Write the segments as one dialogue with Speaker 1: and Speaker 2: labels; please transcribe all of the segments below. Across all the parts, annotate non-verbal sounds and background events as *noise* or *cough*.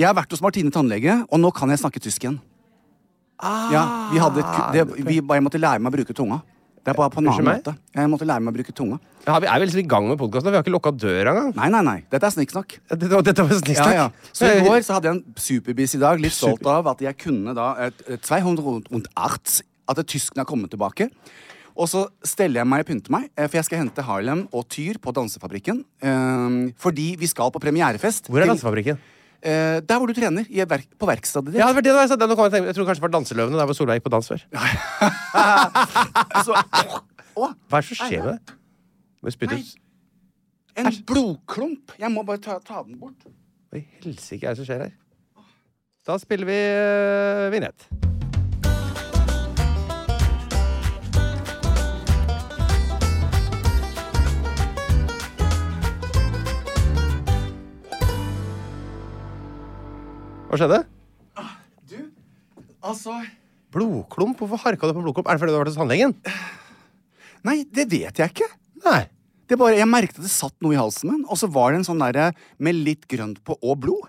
Speaker 1: Jeg har vært hos Martine tannlege, og nå kan jeg snakke tysk igjen. Ja, vi hadde et, ku- det, vi, jeg måtte lære meg å bruke tunga. Det er bare på en annen
Speaker 2: Ah, Unnskyld meg?
Speaker 1: måte. Jeg måtte lære meg å bruke tunga.
Speaker 2: Ja, vi er vel i gang med podkasten. Vi har ikke lukka døra engang.
Speaker 1: Nei, nei, nei. Dette er snikksnakk.
Speaker 2: Dette, var- dette var
Speaker 1: Ja,
Speaker 2: snikksnakk.
Speaker 1: ja. Så i går så hadde jeg en superbiss i dag, litt stolt av at jeg kunne da et, et 208 At det tysken har kommet tilbake. Og så steller jeg meg og pynter meg, eh, for jeg skal hente Harlem og Tyr på Dansefabrikken. eh, fordi vi skal på premierefest.
Speaker 2: Hvor er
Speaker 1: til-
Speaker 2: Dansefabrikken?
Speaker 1: Eh, der hvor du trener. I verk, på verkstedet ditt.
Speaker 2: Ja, det var det da jeg sa. Det- nå kan jeg, tenke, jeg tror kanskje det var Danseløvene der hvor Solveig gikk på dans før.
Speaker 1: Så, Å,
Speaker 2: Hva er det som skjer med det? Må jeg spytte ut?
Speaker 1: en blodklump! Jeg må bare ta, ta den bort.
Speaker 2: Hva i helsike er det som skjer her? Da spiller vi uh, vignett. Hva skjedde?
Speaker 1: Du, altså
Speaker 2: Blodklump? Hvorfor harka du på blodklump? Er det fordi du har vært hos tannlegen?
Speaker 1: Nei, det vet jeg ikke.
Speaker 2: Nei.
Speaker 1: Det bare, jeg merket at det satt noe i halsen min, og så var det en sånn derre med litt grønt på og blod.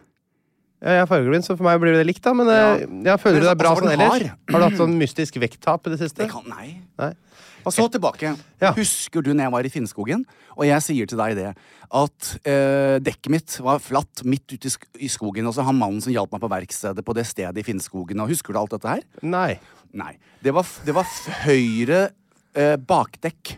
Speaker 2: Jeg er fargeblind, så for meg blir det likt, da. Men eh, jeg føler
Speaker 1: Men
Speaker 2: det er bra
Speaker 1: altså,
Speaker 2: sånn
Speaker 1: var den
Speaker 2: ellers.
Speaker 1: hard?
Speaker 2: Har du hatt sånn mystisk vekttap i det siste?
Speaker 1: Det kan, nei.
Speaker 2: Nei.
Speaker 1: Og så tilbake.
Speaker 2: Ja.
Speaker 1: Husker du når jeg var i Finnskogen, og jeg sier til deg det, at eh, dekket mitt var flatt midt ute i, sk i skogen, og så han mannen som hjalp meg på verkstedet på det stedet i Finnskogen, og husker du alt dette her?
Speaker 2: Nei.
Speaker 1: Nei. Det var, f- det var f- høyre eh, bakdekk.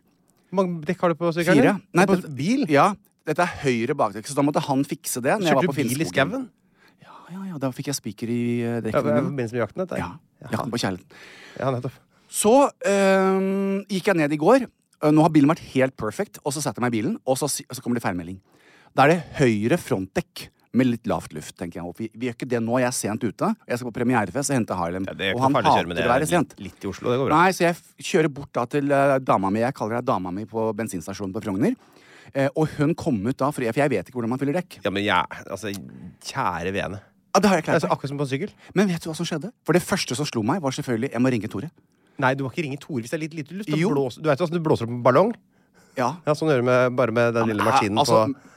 Speaker 2: Hvor mange dekk har du på sykkelen?
Speaker 1: Fire.
Speaker 2: din?
Speaker 1: Nei,
Speaker 2: på
Speaker 1: dette-
Speaker 2: bil?
Speaker 1: Ja. Dette er høyre bakdekk, så da måtte han fikse det. Når jeg
Speaker 2: Kjørte
Speaker 1: var
Speaker 2: du
Speaker 1: på
Speaker 2: bil i
Speaker 1: Finnskogen.
Speaker 2: skauen?
Speaker 1: Ja, ja, da fikk jeg spiker i eh,
Speaker 2: Ja, det er i
Speaker 1: dekkene mine.
Speaker 2: forbindelse med jakten? Dette.
Speaker 1: Ja. Jakten på kjærligheten.
Speaker 2: ja, nettopp.
Speaker 1: Så øhm, gikk jeg ned i går. Øh, Nå har bilen vært helt perfect, og så setter jeg meg i bilen, og så, si- og så kommer det feilmelding. Da er det høyre frontdekk med litt lavt luft, tenker jeg. Og Vi, vi gjør ikke det nå, jeg er sent ute. Jeg skal på premierefest og hente Harlem.
Speaker 2: Det er
Speaker 1: og
Speaker 2: ikke
Speaker 1: han
Speaker 2: farlig å kjøre med
Speaker 1: hater
Speaker 2: det.
Speaker 1: å være sent.
Speaker 2: Litt, litt i Oslo, det går bra.
Speaker 1: Nei, så jeg f- kjører bort da til eh, dama mi. Jeg kaller deg dama mi på bensinstasjonen på Frogner. Eh, og hun kom ut da, for jeg, for jeg vet ikke hvordan man fyller dekk.
Speaker 2: Ja, men jeg, altså, kjære vene.
Speaker 1: Ja, det har jeg
Speaker 2: Det er
Speaker 1: klart
Speaker 2: altså, akkurat som på en sykkel.
Speaker 1: Men vet du hva som skjedde? For det første som slo meg, var selvfølgelig Jeg må ringe Tore.
Speaker 2: Nei, du må ikke ringe Tore hvis det er litt lite luft. Da
Speaker 1: Jo.
Speaker 2: blåser- du vet åssen du blåser opp en ballong?
Speaker 1: Ja,
Speaker 2: Ja, Sånn gjør du med, bare med den lille maskinen
Speaker 1: Ja, altså,
Speaker 2: på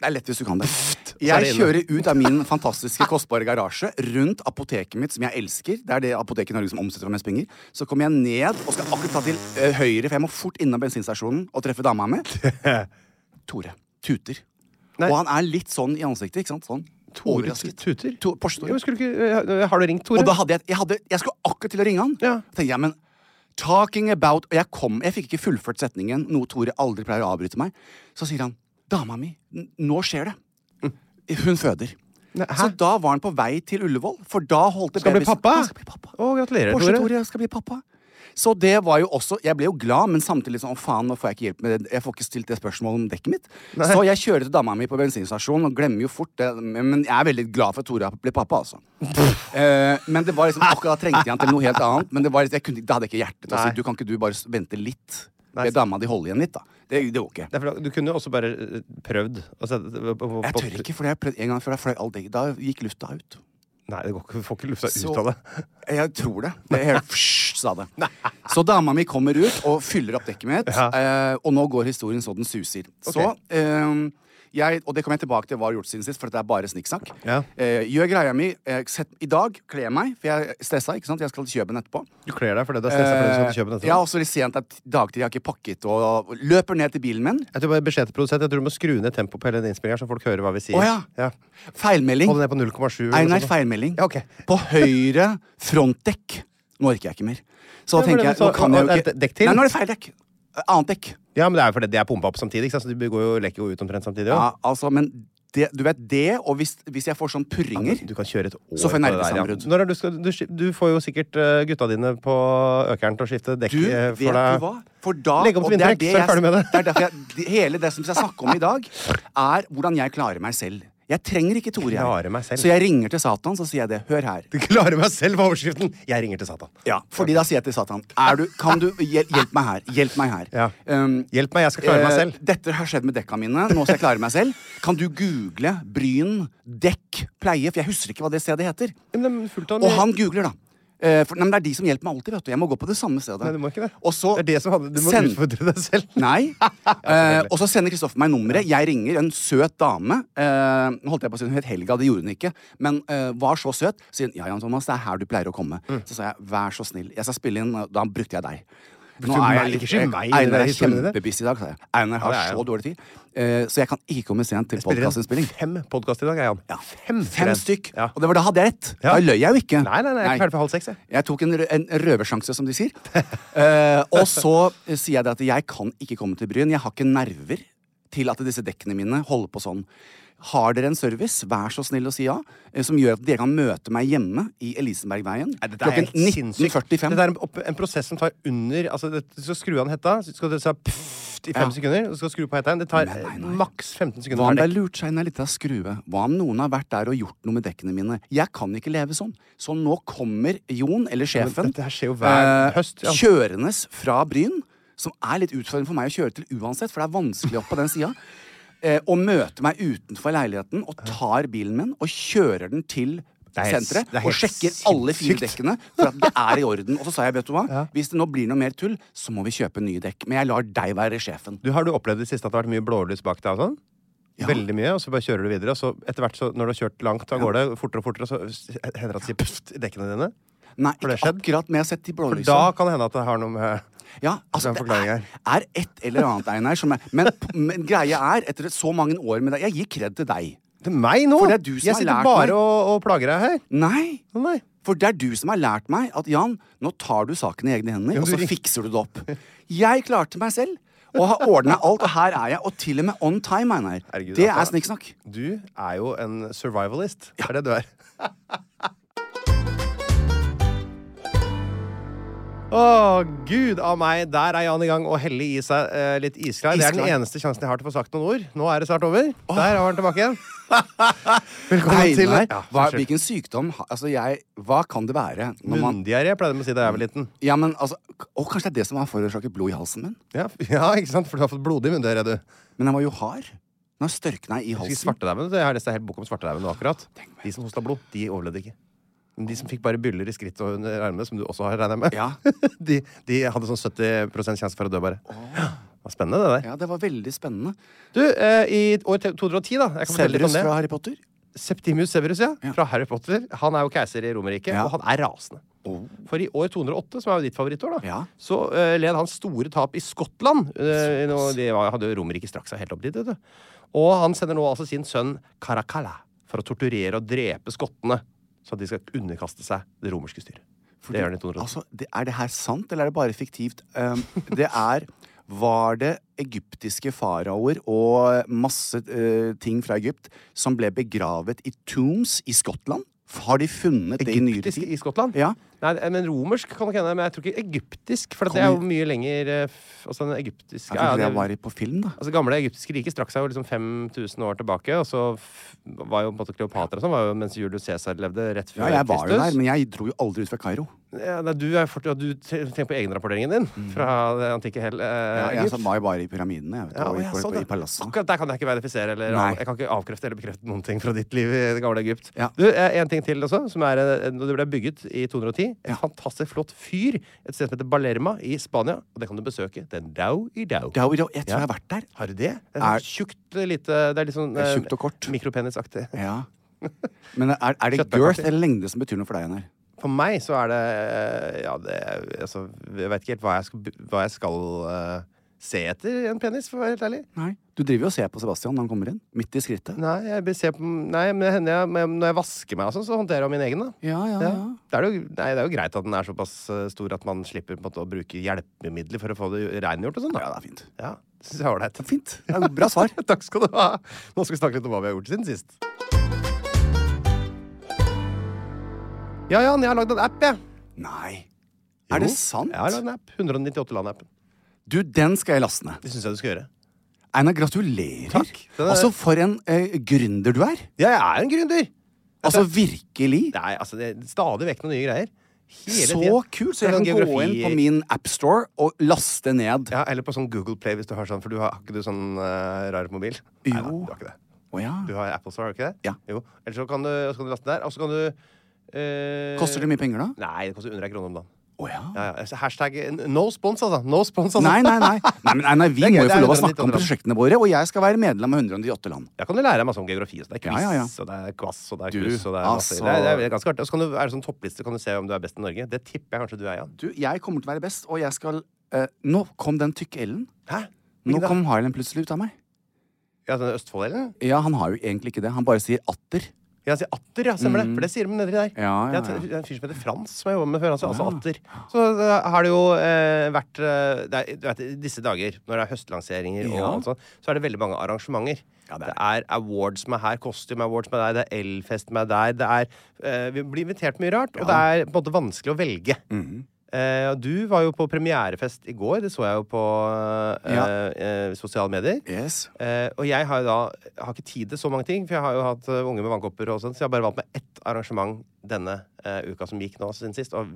Speaker 1: Det er lett hvis du kan det.
Speaker 2: er
Speaker 1: Jeg
Speaker 2: det inne.
Speaker 1: kjører ut av min fantastiske, kostbare garasje, rundt apoteket mitt, som jeg elsker. Det er det apoteket i Norge som omsetter for mest penger. Så kommer jeg ned og skal akkurat ta til eh, høyre, for jeg må fort innom bensinstasjonen og treffe dama mi.
Speaker 2: altså, *laughs*
Speaker 1: Tore tuter.
Speaker 2: Nei.
Speaker 1: Og han er litt sånn i ansiktet, ikke sant? Sånn.
Speaker 2: Tore
Speaker 1: Overrasket.
Speaker 2: tuter?
Speaker 1: To, Porsche
Speaker 2: Jo,
Speaker 1: Tore.
Speaker 2: skulle du ikke, eh, har du ringt Tore?
Speaker 1: Og da hadde jeg, jeg, hadde, jeg skulle akkurat til å ringe han.
Speaker 2: Ja.
Speaker 1: Da tenkte jeg, men talking about Og jeg kom, jeg fikk ikke fullført setningen, noe Tore aldri pleier å avbryte meg. Så sier han, dama mi, n- nå skjer det. Hun føder.
Speaker 2: Nei,
Speaker 1: Så
Speaker 2: hæ?
Speaker 1: da var han på vei til Ullevål, for da holdt det
Speaker 2: Skal han bli
Speaker 1: babys-
Speaker 2: pappa?
Speaker 1: Han skal bli pappa.
Speaker 2: Å, gratulerer,
Speaker 1: Porsche
Speaker 2: Tore.
Speaker 1: Tore skal bli pappa. Så det var jo også Jeg ble jo glad, men samtidig sånn, å faen, nå får jeg ikke hjelp med det. Jeg får ikke stilt det spørsmålet om dekket mitt. Så jeg kjører til dama mi på bensinstasjonen og glemmer jo fort det. Men jeg er veldig glad for at Tore blir pappa, altså. Eh, men det var liksom akkurat da trengte jeg han til noe helt annet. Men det var liksom, jeg kunne, ikke- da hadde jeg ikke hjerte til å
Speaker 2: Nei.
Speaker 1: si du kan ikke du bare s- vente litt.
Speaker 2: Nei,
Speaker 1: Be
Speaker 2: så-
Speaker 1: dama di holde igjen litt, da. Det, det går ikke.
Speaker 2: Det er fordi- Du kunne jo også bare eh, prøvd. å sette- på- på-
Speaker 1: Jeg
Speaker 2: på-
Speaker 1: tør ikke, for jeg har prøvd en gang før. Da fløy all dekk- Da gikk lufta ut.
Speaker 2: Nei, det går ikke, du får ikke lufta
Speaker 1: Så-
Speaker 2: ut av det.
Speaker 1: Jeg tror det. det er
Speaker 2: *laughs*
Speaker 1: helt fsj, sa det. Så dama mi kommer ut og fyller opp dekket mitt,
Speaker 2: Ja.
Speaker 1: eh, og nå går historien så den suser. Så eh, jeg, Og det kommer jeg tilbake til hva jeg har gjort siden sist, for det er bare snikksnakk.
Speaker 2: Ja.
Speaker 1: Eh, gjør greia mi. Eh, sett, I dag kler jeg meg, for jeg er stressa, ikke sant? Jeg skal kjøpe den etterpå.
Speaker 2: Du kler deg fordi du er stressa fordi du skal til København
Speaker 1: Eh, ja,
Speaker 2: etterpå.
Speaker 1: og så litt sent at dagtid, jeg har ikke pakket, og, og løper ned til bilen min.
Speaker 2: Jeg tror bare beskjed til produsent Jeg tror du må skru ned tempoet på hele den innspillingen, så folk hører hva vi sier.
Speaker 1: Å ja. Feilmelding.
Speaker 2: Hold det ned på 0,7. eller
Speaker 1: Nei,
Speaker 2: noe
Speaker 1: nei,
Speaker 2: sånt.
Speaker 1: feilmelding.
Speaker 2: Ja, ok.
Speaker 1: På høyre frontdekk. Nå orker jeg ikke mer. Så da
Speaker 2: Ja, men
Speaker 1: tenker
Speaker 2: det
Speaker 1: jeg,
Speaker 2: sa-
Speaker 1: nå kan jeg jo
Speaker 2: er
Speaker 1: ikke
Speaker 2: det dekk til?
Speaker 1: Nei, nå er det feil dekk. Eh, Annet dekk.
Speaker 2: Ja, men det er jo fordi det er pumpa opp samtidig, ikke sant? så de går jo, leker jo ut omtrent samtidig.
Speaker 1: Ja,
Speaker 2: Ja.
Speaker 1: altså, men det, du vet det, og hvis, hvis jeg får sånn purringer
Speaker 2: Du kan kjøre et år
Speaker 1: Så får jeg
Speaker 2: på det der, ja.
Speaker 1: nervesammenbrudd.
Speaker 2: Når er det du, skal, du, skif- du får jo sikkert eh, gutta dine på økeren til å skifte dekk
Speaker 1: Du,
Speaker 2: eh,
Speaker 1: vet
Speaker 2: for
Speaker 1: du
Speaker 2: deg.
Speaker 1: hva? For da
Speaker 2: Legg om til
Speaker 1: og det er
Speaker 2: vinterdekk,
Speaker 1: det
Speaker 2: så er jeg ferdig med det.
Speaker 1: det er derfor jeg, det- hele det som jeg skal snakke om i dag, er hvordan jeg klarer meg selv. Jeg trenger ikke Tore. jeg.
Speaker 2: Klarer meg selv.
Speaker 1: Så jeg ringer til Satan, så sier jeg det. Hør her.
Speaker 2: Du klarer meg selv var overskriften! Jeg ringer til Satan.
Speaker 1: Ja, fordi da sier jeg til Satan er du, Kan du hjel, Hjelp meg her. Hjelp meg her.
Speaker 2: Ja.
Speaker 1: Um,
Speaker 2: Hjelp meg, jeg skal klare meg
Speaker 1: eh,
Speaker 2: selv.
Speaker 1: Dette har skjedd med dekka mine. Nå skal jeg klare meg selv. Kan du google Bryn dekk pleie? For jeg husker ikke hva det stedet heter.
Speaker 2: Ja, men det er fullt av-
Speaker 1: Og han googler, da. Eh, for, nei, men det er de som hjelper meg alltid. vet du Jeg må gå på det samme stedet.
Speaker 2: Nei, du må ikke det.
Speaker 1: Og så
Speaker 2: Det er det som handler Du må
Speaker 1: send-
Speaker 2: utfordre deg selv.
Speaker 1: Nei. Eh, og så sender Kristoffer meg nummeret. Jeg ringer en søt dame. Eh, nå holdt jeg på å si Hun het Helga, det gjorde hun ikke. Men eh, var så søt. Så sier hun ja, Jan Thomas, det er her du pleier å komme.
Speaker 2: Mm.
Speaker 1: Så sa jeg vær så snill, jeg skal spille inn Da brukte jeg deg.
Speaker 2: Brukte du meg? Ikke skyld meg i den
Speaker 1: Einar
Speaker 2: der
Speaker 1: er
Speaker 2: historien din.
Speaker 1: kjempebussy i dag, sa jeg. Einar har
Speaker 2: Ja, det er
Speaker 1: så dårlig tid. Eh, så jeg kan ikke komme sent til
Speaker 2: *laughs* Spiller inn
Speaker 1: podkastinnspilling.
Speaker 2: Fem podkast i dag, er han.
Speaker 1: Ja.
Speaker 2: Fem,
Speaker 1: Fem
Speaker 2: skrev.
Speaker 1: stykk.
Speaker 2: Ja.
Speaker 1: Og det var da hadde jeg rett.
Speaker 2: Ja.
Speaker 1: Da løy jeg jo ikke.
Speaker 2: Nei, nei, nei, jeg er ikke ferdig for halv seks, jeg.
Speaker 1: Jeg tok en, rø- en røversjanse, som de
Speaker 2: *laughs*
Speaker 1: sier. Eh, og så eh, sier jeg det at jeg kan ikke komme til Bryn. Jeg har ikke nerver til at disse dekkene mine holder på sånn. Har dere en service, vær så snill å si ja, eh, som gjør at dere kan møte meg hjemme i Elisenbergveien
Speaker 2: Nei, dette er
Speaker 1: klokken
Speaker 2: helt sinnssykt.
Speaker 1: 19.45.
Speaker 2: Dette er en, opp- en prosess som tar under altså, det, Du skal skru av en hetta, så skal du si pfft i fem
Speaker 1: Ja.
Speaker 2: sekunder, og så skal du skru på hetta igjen. Det tar
Speaker 1: Nei, nei,
Speaker 2: eh,
Speaker 1: nei.
Speaker 2: maks 15 sekunder.
Speaker 1: Hva om
Speaker 2: per
Speaker 1: det er
Speaker 2: dekk.
Speaker 1: lurt seg inn ei lita skrue? Hva om noen har vært der og gjort noe med dekkene mine? Jeg kan ikke leve sånn. Så nå kommer Jon, eller
Speaker 2: men
Speaker 1: sjefen,
Speaker 2: dette her skjer jo hver høst, ja.
Speaker 1: kjørende fra Bryn, som er litt utfordrende for meg å kjøre til uansett, for det er vanskelig opp på den sida. *laughs* eh, Og møter meg utenfor leiligheten og tar bilen min og kjører den til
Speaker 2: er helt-
Speaker 1: senteret
Speaker 2: det er
Speaker 1: og
Speaker 2: helt
Speaker 1: sjekker alle fire
Speaker 2: sinnssykt.
Speaker 1: dekkene for at det er i orden. Og så sa jeg, vet du hva, hvis det nå blir noe mer tull, så må vi kjøpe nye dekk. Men jeg lar deg være sjefen.
Speaker 2: Du, har du opplevd i det siste at det har vært mye blålys bak deg? og sånn?
Speaker 1: Ja.
Speaker 2: Veldig mye, og så bare kjører du videre. Og så etter hvert så, når du har kjørt langt av gårde, fortere og fortere, så hender det at det sier pst i dekkene dine.
Speaker 1: Nei,
Speaker 2: Har det
Speaker 1: ikke
Speaker 2: skjedd?
Speaker 1: akkurat, men jeg har sett de blålysa.
Speaker 2: Da kan det hende at det har noe med
Speaker 1: Ja, altså,
Speaker 2: Det er en
Speaker 1: det
Speaker 2: forklaring
Speaker 1: er, er et eller annet, Einar. Som er, men, men greia er, etter så mange år med deg Jeg gir kred til deg.
Speaker 2: Det er meg nå!
Speaker 1: For det er du som
Speaker 2: jeg
Speaker 1: har
Speaker 2: sitter
Speaker 1: lært meg.
Speaker 2: bare og, og plager deg her.
Speaker 1: Nei.
Speaker 2: Å, Nei.
Speaker 1: For det er du som har lært meg at Jan, nå tar du saken i egne hender,
Speaker 2: Ja,
Speaker 1: og
Speaker 2: du
Speaker 1: så
Speaker 2: ring-
Speaker 1: fikser du det opp. Jeg klarte meg selv. Og har ordna alt, og her er jeg. Og til og med on time, Einar.
Speaker 2: Herregud,
Speaker 1: det
Speaker 2: dette
Speaker 1: er
Speaker 2: er-
Speaker 1: snikksnakk.
Speaker 2: Du er jo en survivalist. Det er det du er. *laughs* Å, gud av meg! Der er Jan i gang og heller i seg eh, litt isklar. Det er den
Speaker 1: Isklar.
Speaker 2: eneste sjansen jeg har til å få sagt noen ord. Nå er det snart over. Der var han tilbake *laughs* igjen. Velkommen til
Speaker 1: Einar,
Speaker 2: Ja,
Speaker 1: hva,
Speaker 2: unnskyld.
Speaker 1: hvilken sykdom ha- Altså, jeg Hva kan det være? Når man,
Speaker 2: Munndiaré pleide de å si da jeg var liten.
Speaker 1: ja, men altså k- Å, kanskje det er det som har forårsaket blod i halsen min?
Speaker 2: Ja, ja ikke sant? For du har fått blodig munndiaré, du.
Speaker 1: Men den var jo hard. Den har størkna i
Speaker 2: Husker
Speaker 1: halsen.
Speaker 2: Svartedauden? Jeg har lest en hel bok om svartedauden nå akkurat. De som hosta blod, de overlevde ikke. Men de som fikk bare byller i skritt og under armene, som du også har regna med,
Speaker 1: Ja.
Speaker 2: *laughs* de, de hadde sånn 70 sjanse for å dø, bare. Det var spennende, det der.
Speaker 1: ja, det var veldig spennende.
Speaker 2: Du, eh, i år te- 210, da jeg kan fortelle litt
Speaker 1: Severus
Speaker 2: om det.
Speaker 1: fra Harry Potter?
Speaker 2: Septimus Severus, ja. Fra Harry Potter. Han er jo keiser i Romerriket,
Speaker 1: Ja. Oh.
Speaker 2: og han er rasende. For i år 208, som er jo ditt favorittår, da,
Speaker 1: Ja.
Speaker 2: så eh, led han store tap i Skottland. Eh, nå, de var, hadde jo Romerriket straks seg helt opp dit, vet du. Og han sender nå altså sin sønn Caracalla for å torturere og drepe skottene. Så at de skal underkaste seg det romerske styret. det gjør han i 208.
Speaker 1: Altså, det, er det her sant, eller er det bare fiktivt? Um, det er Var det egyptiske faraoer og masse eh, ting fra Egypt som ble begravet i tombs i Skottland? Har de funnet det i nyere
Speaker 2: Egyptisk
Speaker 1: tid?
Speaker 2: i Skottland?
Speaker 1: Ja.
Speaker 2: Nei, men romersk kan nok hende, men jeg tror ikke egyptisk. For at det er jo mye lenger eh, f- Altså den egyptiske
Speaker 1: Jeg tror
Speaker 2: ja,
Speaker 1: ikke
Speaker 2: det-
Speaker 1: det var i- på film, da.
Speaker 2: Altså Gamle egyptiske riket strakk seg jo liksom 5000 år tilbake. Og så f- var jo på en måte Kleopatra og sånn, var jo mens Julius Cæsar levde, rett før
Speaker 1: Ja, jeg var jo
Speaker 2: Kristus.
Speaker 1: der, men jeg dro jo aldri ut fra Kairo.
Speaker 2: Ja, nei, du, er fort, ja, du te- tenker på egenrapporteringen din fra det antikke hell.
Speaker 1: Mm. Ja,
Speaker 2: Eh,
Speaker 1: jeg
Speaker 2: Egypt.
Speaker 1: som var jo bare i pyramidene, jeg vet,
Speaker 2: Ja,
Speaker 1: og
Speaker 2: og
Speaker 1: i,
Speaker 2: jeg så
Speaker 1: på,
Speaker 2: det.
Speaker 1: i palasset.
Speaker 2: Akkurat der kan jeg ikke verifisere eller av-
Speaker 1: Nei.
Speaker 2: Jeg kan ikke avkrefte eller bekrefte noen ting fra ditt liv i det gamle Egypt.
Speaker 1: Ja.
Speaker 2: Du, eh, En ting til også, som er eh, når det ble bygget i 210. Et
Speaker 1: Ja.
Speaker 2: fantastisk flott fyr. Et sted som heter Balerma i Spania. Og det kan du besøke. Den dau i dau.
Speaker 1: Det er jo- Jeg tror
Speaker 2: Ja.
Speaker 1: jeg har vært der.
Speaker 2: Har du det? Det er,
Speaker 1: Er-
Speaker 2: sånn tjukt eh, lite Det er litt sånn
Speaker 1: Det er
Speaker 2: eh,
Speaker 1: tjukt og kort.
Speaker 2: Mikropenisaktig.
Speaker 1: Ja. Men er, er det
Speaker 2: Kjøttdeig
Speaker 1: girth
Speaker 2: kaffe.
Speaker 1: eller lengde som betyr noe for deg, Einar?
Speaker 2: For meg så er det eh, Ja, det er- Altså, jeg vet ikke helt hva jeg skal, bu- hva jeg skal eh, se etter i en penis, for å være helt ærlig.
Speaker 1: Nei. Du driver jo og ser på Sebastian når han kommer inn. Midt i skrittet.
Speaker 2: Nei, jeg blir- ser på, nei men det hender jeg, men når jeg vasker meg, og sånn, så håndterer jeg min egen, da.
Speaker 1: Ja, ja,
Speaker 2: Ja.
Speaker 1: ja.
Speaker 2: Det, er jo, nei, det er jo greit at den er såpass eh, stor at man slipper på en måte, å bruke hjelpemidler for å få det rengjort og sånn.
Speaker 1: Ja,
Speaker 2: da.
Speaker 1: det er fint.
Speaker 2: Ja, det synes jeg er ålreit. *laughs*
Speaker 1: Det er fint. Det er bra svar.
Speaker 2: Takk skal du ha. Nå skal vi snakke litt om hva vi har gjort siden sist. Ja, Jan, jeg har lagd en app, jeg.
Speaker 1: Nei. Er det
Speaker 2: Jo,
Speaker 1: sant?
Speaker 2: Jeg har lagd en app. 198 land-appen.
Speaker 1: Du, den skal jeg laste ned.
Speaker 2: Det syns jeg du skal gjøre.
Speaker 1: Einar, gratulerer.
Speaker 2: Takk. Den er-
Speaker 1: Altså, for en eh, gründer du er.
Speaker 2: Ja, jeg er en gründer.
Speaker 1: Altså, virkelig.
Speaker 2: Nei, altså, det er stadig vekk noen nye greier. Hele
Speaker 1: Så
Speaker 2: tiden.
Speaker 1: kult! Så
Speaker 2: Det
Speaker 1: jeg kan
Speaker 2: er sånn
Speaker 1: gå inn
Speaker 2: geografi-
Speaker 1: på min appstore og laste ned.
Speaker 2: Ja, Eller på sånn Google Play, hvis du har sånn, for du har har ikke du sånn eh, rar mobil? Nei, da,
Speaker 1: Jo.
Speaker 2: du har ikke det.
Speaker 1: Å ja.
Speaker 2: Du har Apple Store, har du ikke det?
Speaker 1: Ja.
Speaker 2: Jo. Eller så kan du, så kan du laste den der, og så kan du eh,
Speaker 1: Koster det mye penger, da?
Speaker 2: Nei, det koster under ei krone om dagen.
Speaker 1: Å ja.
Speaker 2: Ja, ja. altså, Hashtag eh, no spons, altså. No spons, altså.
Speaker 1: Nei, nei, nei. nei men Einar, vi
Speaker 2: Det er gøy,
Speaker 1: må jo
Speaker 2: det
Speaker 1: få
Speaker 2: er
Speaker 1: lov å snakke om
Speaker 2: 198
Speaker 1: prosjektene våre, og jeg skal være medlem av 198 land.
Speaker 2: Da kan du lære deg masse om geografi. Så det er quiz,
Speaker 1: Ja, ja, ja.
Speaker 2: og det er kvass, og det er
Speaker 1: Du,
Speaker 2: kluss, og det er masse
Speaker 1: altså.
Speaker 2: det, er, det er ganske artig. Og så kan du, er det sånn toppliste, kan du se om du er best i Norge. Det tipper jeg kanskje du er, Jan.
Speaker 1: Du, jeg kommer til å være best, og jeg skal eh, Nå kom den tykke Ellen.
Speaker 2: Hæ?
Speaker 1: Nå
Speaker 2: Hvilken da?
Speaker 1: kom Highland plutselig ut av meg.
Speaker 2: Ja, den Østfold-delen?
Speaker 1: Ja, han har jo egentlig ikke det. Han bare sier atter.
Speaker 2: Ja, sier atter, ja. Stemmer det. For det sier de nedi der.
Speaker 1: Mm. Ja, ja, Ah.
Speaker 2: Det
Speaker 1: ja.
Speaker 2: er en- det er en fyr som heter Frans, som jeg jobber med før. Altså, altså atter. Så eh, har det jo eh, vært eh, det er, du vet, I disse dager, når det er høstlanseringer og
Speaker 1: Ja.
Speaker 2: alt sånt, så er det veldig mange arrangementer.
Speaker 1: Ja, det
Speaker 2: det,
Speaker 1: er
Speaker 2: er. awards som er her, costume awards som er der, det er Elfest som er der, det er eh, Vi blir invitert mye rart, og det er på en måte vanskelig å velge.
Speaker 1: Mhm.
Speaker 2: Eh, og du var jo på premierefest i går, det så jeg jo på eh,
Speaker 1: Ja.
Speaker 2: eh, sosiale medier.
Speaker 1: Yes.
Speaker 2: Eh, og jeg har jo da jeg har ikke tid til så mange ting, for jeg har jo hatt eh, unge med vannkopper. og sånt, Så jeg har bare valgt meg ett arrangement denne eh, uka som gikk nå siden sist. Og